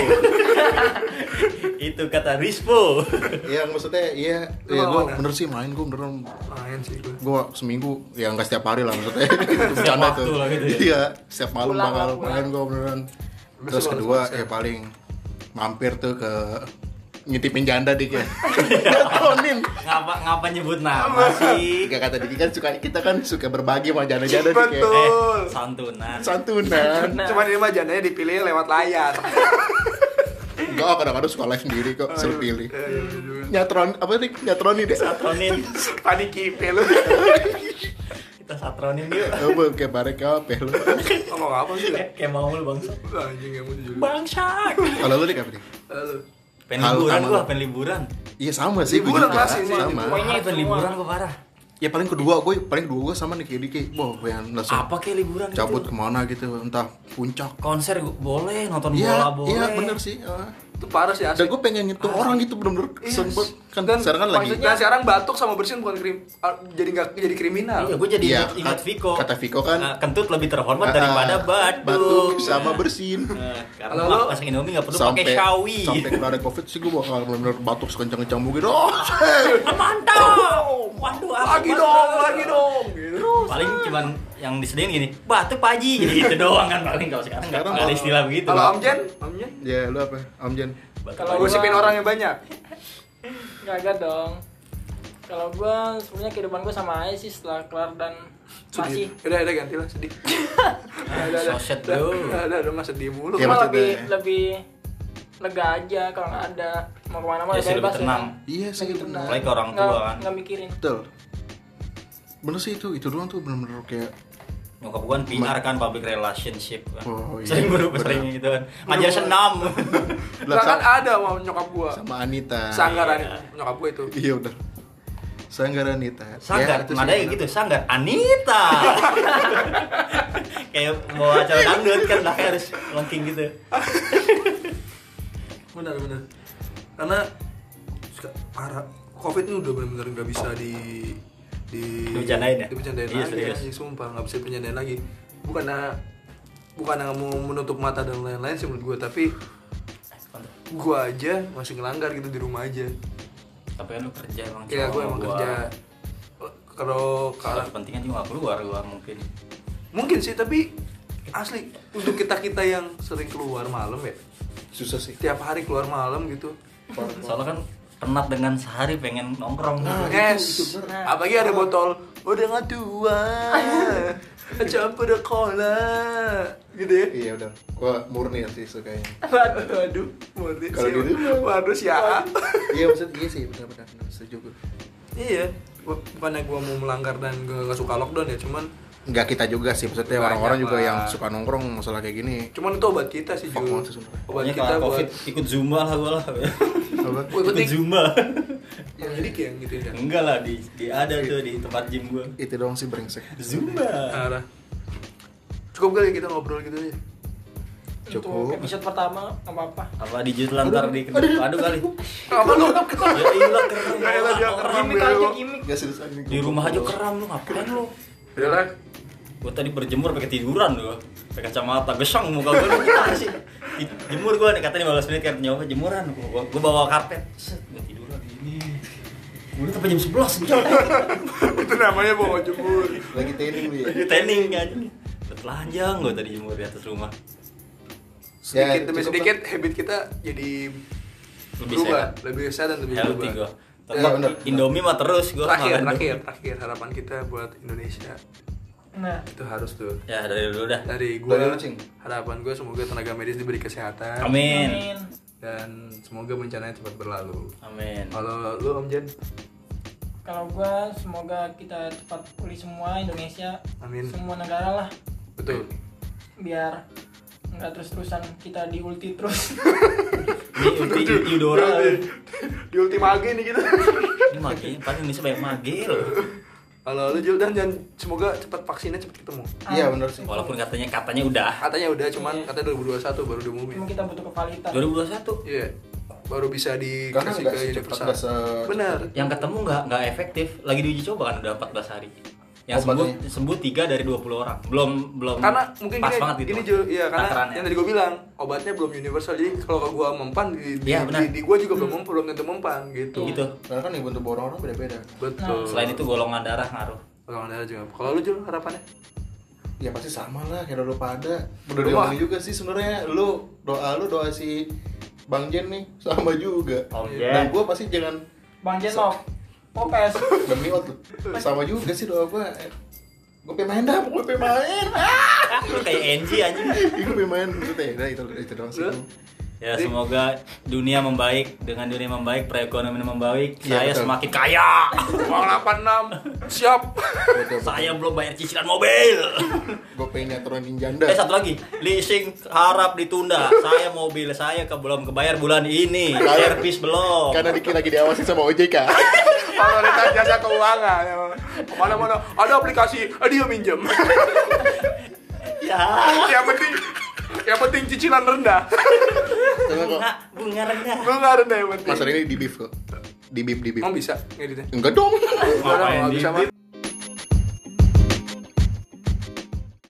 Speaker 3: Itu kata Rispo. *laughs*
Speaker 2: Iya maksudnya iya.
Speaker 1: Lu
Speaker 2: Iya gue
Speaker 1: lawan,
Speaker 2: bener sih main gue bener
Speaker 1: Main sih gua.
Speaker 2: gue seminggu ya nggak setiap hari lah
Speaker 3: *laughs*
Speaker 2: maksudnya Itu bercanda
Speaker 3: waktu lah gitu ya.
Speaker 2: iya setiap malam
Speaker 4: Pulang,
Speaker 2: bakal
Speaker 4: pulang.
Speaker 2: main gue beneran
Speaker 1: Besok
Speaker 2: terus
Speaker 1: harus
Speaker 2: kedua
Speaker 1: konser.
Speaker 2: ya paling mampir tuh ke nyetipin janda ya. dikit *laughs* Tonin
Speaker 3: ngapa ngapa nyebut nama sih? Eh,
Speaker 2: Gak kata Diki kan suka kita kan suka berbagi sama janda-janda dik ya.
Speaker 1: Betul.
Speaker 3: Eh, santunan.
Speaker 2: santunan
Speaker 4: Nah.
Speaker 1: Cuman ini mah jandanya dipilih lewat layar. Eh,
Speaker 2: enggak oh, kadang-kadang suka live sendiri kok suruh pilih
Speaker 1: Eh, iya, bener juga.
Speaker 2: nyatron apa nih nyatroni deh
Speaker 3: Satronin.
Speaker 1: Tadi kipe lu.
Speaker 3: Kita satronin yuk.
Speaker 2: Apa kayak barek apa ya? lu?
Speaker 1: Ngomong apa sih? lu?
Speaker 3: Kayak kayak mau lu bangsa.
Speaker 1: Anjing kamu juga.
Speaker 3: Bangsat.
Speaker 2: Kalau lu dik apa nih?
Speaker 1: Halo.
Speaker 3: Pengen
Speaker 2: Hal
Speaker 3: liburan
Speaker 2: utama.
Speaker 3: gua, pengen liburan.
Speaker 2: Iya sama sih.
Speaker 1: Liburan
Speaker 2: gua juga.
Speaker 1: pasti sih.
Speaker 2: Sama.
Speaker 4: Pokoknya
Speaker 3: Pokoknya
Speaker 4: itu
Speaker 3: pengen
Speaker 4: semua.
Speaker 3: liburan gua parah.
Speaker 2: Ya paling kedua gue, paling kedua gue sama nih kayak Diki. Wah, gua yang langsung
Speaker 3: Apa kayak liburan
Speaker 2: cabut
Speaker 3: gitu?
Speaker 2: kemana gitu, entah puncak.
Speaker 3: Konser gua- boleh, nonton bola
Speaker 2: Iya,
Speaker 3: boleh.
Speaker 2: iya bener sih. ah.
Speaker 1: Itu parah sih
Speaker 2: Dan
Speaker 1: asli.
Speaker 2: gue pengen nyentuh orang gitu bener-bener sempet kan
Speaker 1: Iya. dan
Speaker 2: sekarang kan lagi.
Speaker 1: maksudnya sekarang batuk sama bersin bukan krim ah, jadi nggak jadi kriminal
Speaker 3: Iya, gue jadi
Speaker 2: Iya,
Speaker 3: ingat, ingat
Speaker 2: kat-
Speaker 3: Viko.
Speaker 2: kata Viko kan-
Speaker 3: Nah, kentut lebih terhormat
Speaker 2: Ah,
Speaker 3: daripada
Speaker 2: ah,
Speaker 3: batuk.
Speaker 2: Batuk sama bersin.
Speaker 3: Nah,
Speaker 1: Kalau
Speaker 3: karena mak-
Speaker 1: lo-
Speaker 3: masak Indomie nggak perlu pakai shawi.
Speaker 2: sampai kena ada covid sih gue bakal bener-bener batuk sekencang-kencang mungkin. Oh, shit.
Speaker 3: Ah, Mantap. Waduh, aku
Speaker 1: lagi
Speaker 3: mantap.
Speaker 1: dong lagi dong gitu
Speaker 3: Paling cuman yang disediain gini, batuk Pak Haji. Gitu doang kan paling kalau sekarang nggak
Speaker 2: Sekarang
Speaker 3: nggak ada
Speaker 2: kalau-
Speaker 3: istilah begitu.
Speaker 1: kalau Om Jen Om Jen
Speaker 2: ya lu apa? Amjen.
Speaker 3: Batuk
Speaker 4: kalau
Speaker 3: Pak Haji.
Speaker 1: gosipin orang yang banyak
Speaker 4: Kagak dong. Kalau gua sebenarnya kehidupan gua sama aja sih setelah kelar dan
Speaker 1: sedih
Speaker 4: masih
Speaker 3: Iya,
Speaker 1: udah udah ganti lah sedih
Speaker 3: Ah,
Speaker 1: udah udah
Speaker 3: soset
Speaker 1: udah
Speaker 3: bro.
Speaker 1: udah udah, udah mas sedih mulu
Speaker 2: Ya,
Speaker 4: cuma
Speaker 2: maksudnya-
Speaker 4: lebih lebih lega aja kalau nggak ada mau kemana mana
Speaker 3: Ya sih, lebih tenang.
Speaker 2: Iya sih bener.
Speaker 3: Apalagi ke orang tua kan.
Speaker 4: nggak mikirin
Speaker 2: Betul. Bener sih itu, itu doang tuh bener-bener kayak
Speaker 3: Nyokap gue kan PR kan public relationship kan.
Speaker 2: Oh, iya.
Speaker 3: *laughs* Sering guru sering gitu kan. Ngajar senam.
Speaker 1: lah kan ada sama nyokap gua
Speaker 2: sama Anita.
Speaker 1: sanggaran nyokap gua itu
Speaker 2: *laughs* Iya udah. Sanggar Anita. Ya,
Speaker 3: Sanggar,
Speaker 2: Iya, itu sih
Speaker 3: nadanya
Speaker 2: bener.
Speaker 3: gitu, sanggar Anita. *laughs* Kayak mau acara dangdut kan belakangnya harus lengking gitu.
Speaker 1: benar benar karena suka- parah covid ini udah benar-benar nggak bisa di di
Speaker 3: Dibercandain ya?
Speaker 1: dibercandain
Speaker 3: Iya,
Speaker 1: lagi
Speaker 3: serius.
Speaker 1: anjing, sumpah nggak bisa dibercandain lagi bukan bukan mau menutup mata dan lain-lain sih menurut gue tapi gue aja masih ngelanggar gitu di rumah aja
Speaker 3: Tapi kan lu kerja emang.
Speaker 1: ya gue
Speaker 3: cowok,
Speaker 1: emang
Speaker 3: gua.
Speaker 1: kerja kalau
Speaker 3: Kalau
Speaker 1: kalau
Speaker 3: kepentingan juga nggak keluar gua mungkin.
Speaker 1: mungkin sih tapi asli untuk kita kita yang sering keluar malam ya
Speaker 2: Susah sih.
Speaker 1: tiap hari keluar malam gitu
Speaker 3: Soalnya kan penat dengan sehari pengen nongkrong
Speaker 1: Ah,
Speaker 3: gitu.
Speaker 1: Es, Nah. apalagi ada botol udah nggak *laughs* tua, campur cola, gitu ya.
Speaker 2: Iya udah. Gua murni sih *laughs* sukanya.
Speaker 1: Waduh, murni
Speaker 2: Kalau
Speaker 1: sih.
Speaker 2: gitu,
Speaker 1: waduh siapa?
Speaker 2: iya maksud iya sih benar-benar setuju gue.
Speaker 1: iya, gua- bukannya gua mau melanggar dan gua nggak suka lockdown ya, cuman
Speaker 2: Enggak kita juga sih
Speaker 1: Banyak
Speaker 2: maksudnya orang-orang juga
Speaker 1: lah.
Speaker 2: yang suka nongkrong masalah kayak gini.
Speaker 1: cuman itu obat kita sih
Speaker 2: Fuck
Speaker 1: Jul.
Speaker 2: banget sih sebenarnya.
Speaker 1: Obat
Speaker 3: Pokoknya
Speaker 1: kita
Speaker 3: kalau
Speaker 1: buat
Speaker 3: Iya, covid ikut zumba lah gua lah.
Speaker 2: Apa?
Speaker 1: Gua ikut
Speaker 3: ikut
Speaker 1: nih.
Speaker 3: zumba. *laughs*
Speaker 1: yang jadi kayak gitu ya.
Speaker 3: Enggak lah di, di ada tuh di tempat gym gua.
Speaker 2: Itu doang sih brengsek.
Speaker 3: Zumba.
Speaker 1: Arah. Nah, Cukup kali kita ngobrol gitu ya.
Speaker 2: Cukup.
Speaker 4: untuk episode pertama nggak apa-apa
Speaker 3: Apa di lantar di kedua padu kali.
Speaker 1: Apa lu?
Speaker 3: Ya iyalah keren.
Speaker 1: Ya iyalah, dia keren.
Speaker 4: gimmick
Speaker 1: bro.
Speaker 4: aja gimmick
Speaker 2: Enggak seriusan nih.
Speaker 3: Di rumah aja keram lu ngapain lu?
Speaker 1: Udah lah.
Speaker 3: Gua tadi berjemur pakai tiduran gua. Pakai kacamata gesang muka gua lu gimana sih. Di- Jemur gua nih, katanya 15 menit kan nyoba jemuran. Gua, gua- gua bawa karpet. Set, gua tiduran ini. Gua sampai jam 11 gitu.
Speaker 1: *laughs* Itu namanya bawa jemur.
Speaker 2: Lagi training lu ya.
Speaker 3: Lagi tanning kan. Telanjang gue tadi jemur di atas rumah.
Speaker 1: Sedikit demi
Speaker 2: Ya, cukup
Speaker 1: sedikit habit kita jadi
Speaker 3: Lebih
Speaker 1: berubah,
Speaker 3: sehat.
Speaker 1: lebih sehat dan lebih
Speaker 3: Healthy
Speaker 1: berubah.
Speaker 3: gue. Tapi
Speaker 2: Iya, bener.
Speaker 3: Indomie mah terus gue
Speaker 1: terakhir terakhir terakhir harapan kita buat Indonesia
Speaker 4: nah
Speaker 1: itu harus tuh
Speaker 3: Ya dari dulu dah.
Speaker 1: dari
Speaker 2: Dari
Speaker 1: gua
Speaker 2: lu, Cing.
Speaker 1: harapan gua semoga tenaga medis diberi kesehatan
Speaker 3: Amin.
Speaker 4: amin
Speaker 1: dan semoga bencana cepat berlalu
Speaker 3: Amin.
Speaker 1: kalau lu om Jen
Speaker 4: kalau gua semoga kita cepat pulih semua Indonesia
Speaker 1: Amin.
Speaker 4: semua negara lah
Speaker 1: betul
Speaker 4: biar nggak terus terusan kita di ulti terus
Speaker 3: Ini ulti
Speaker 1: *laughs*
Speaker 3: Eudora.
Speaker 1: eh. di ultimage nih kita
Speaker 3: Iya, Ini mage, paling Indonesia banyak mage loh.
Speaker 1: kalau lu Jul dan jangan semoga cepat vaksinnya cepat ketemu
Speaker 2: Iya benar sih.
Speaker 3: Walaupun katanya katanya udah
Speaker 1: katanya udah cuman
Speaker 4: Iya.
Speaker 1: katanya 2021 baru diumumin
Speaker 4: emang kita butuh kevalitan
Speaker 3: 2021
Speaker 1: iya baru bisa
Speaker 2: Karena
Speaker 1: dikasih
Speaker 2: nggak
Speaker 1: ke
Speaker 2: secepat
Speaker 1: universal
Speaker 2: nggak se-
Speaker 1: benar
Speaker 3: yang ketemu nggak nggak efektif lagi diuji coba kan udah 14 hari yang
Speaker 2: Obatnya.
Speaker 3: sembuh sembuh 3 dari 20 orang belum belum
Speaker 1: karena mungkin
Speaker 3: pas
Speaker 1: gini,
Speaker 3: banget gitu ya.
Speaker 1: gini Jul iya karena
Speaker 3: takarannya.
Speaker 1: yang tadi gue bilang obatnya belum universal jadi kalau ke gua mempan di di,
Speaker 3: Iya, benar.
Speaker 1: di, di gua juga belum mem- belum tentu mempan gitu
Speaker 3: gitu Nah,
Speaker 2: Karena kan ibu untuk orang orang beda-beda.
Speaker 1: betul
Speaker 3: selain itu golongan darah ngaruh *laughs*
Speaker 1: Golongan darah juga kalau lu Jul harapannya
Speaker 2: Ya pasti sama lah kayak lu pada.
Speaker 1: Lu
Speaker 2: Udah
Speaker 1: mah-
Speaker 2: diomongin juga sih sebenarnya lu doa lu doa si Bang Jen nih sama juga.
Speaker 3: Bang
Speaker 2: Dan
Speaker 3: Jen.
Speaker 2: gua pasti jangan
Speaker 4: bang Jen mau popes
Speaker 2: demi out lu. Sama juga sih doa gua. Gue pengen main dah, gue pengen main.
Speaker 3: ah lu kayak NG anjing
Speaker 2: Gue pengen main. Itu ya, udah, itu itu doang sih.
Speaker 1: Lu?
Speaker 3: ya semoga dunia membaik dengan dunia membaik perekonomian membaik
Speaker 2: Iya,
Speaker 3: saya
Speaker 2: betul.
Speaker 3: semakin kaya *laughs*
Speaker 1: uang 86 siap *laughs*
Speaker 3: saya belum bayar cicilan mobil *laughs*
Speaker 2: Gue pengen nyaturin janda.
Speaker 3: eh satu lagi leasing harap ditunda saya mobil saya ke belum kebayar bulan ini
Speaker 2: Kalau-
Speaker 3: servis belum
Speaker 2: Karena Diki lagi diawasi sama OJK.
Speaker 1: Otoritas jasa keuangan emang. Kemana-mana ada aplikasi eh, dia minjem. *laughs*
Speaker 3: ya
Speaker 1: yang penting yang penting cicilan rendah. *laughs*
Speaker 2: Coba kok.
Speaker 3: bunga bunga rendah
Speaker 1: Bunga rendah yang penting.
Speaker 2: Mas ini di beef kok. Di beef di beef.
Speaker 1: Emang bisa ngeditnya?
Speaker 2: Enggak dong.
Speaker 1: Enggak,
Speaker 3: Ngapain
Speaker 1: enggak
Speaker 3: di-
Speaker 1: bisa, Mas.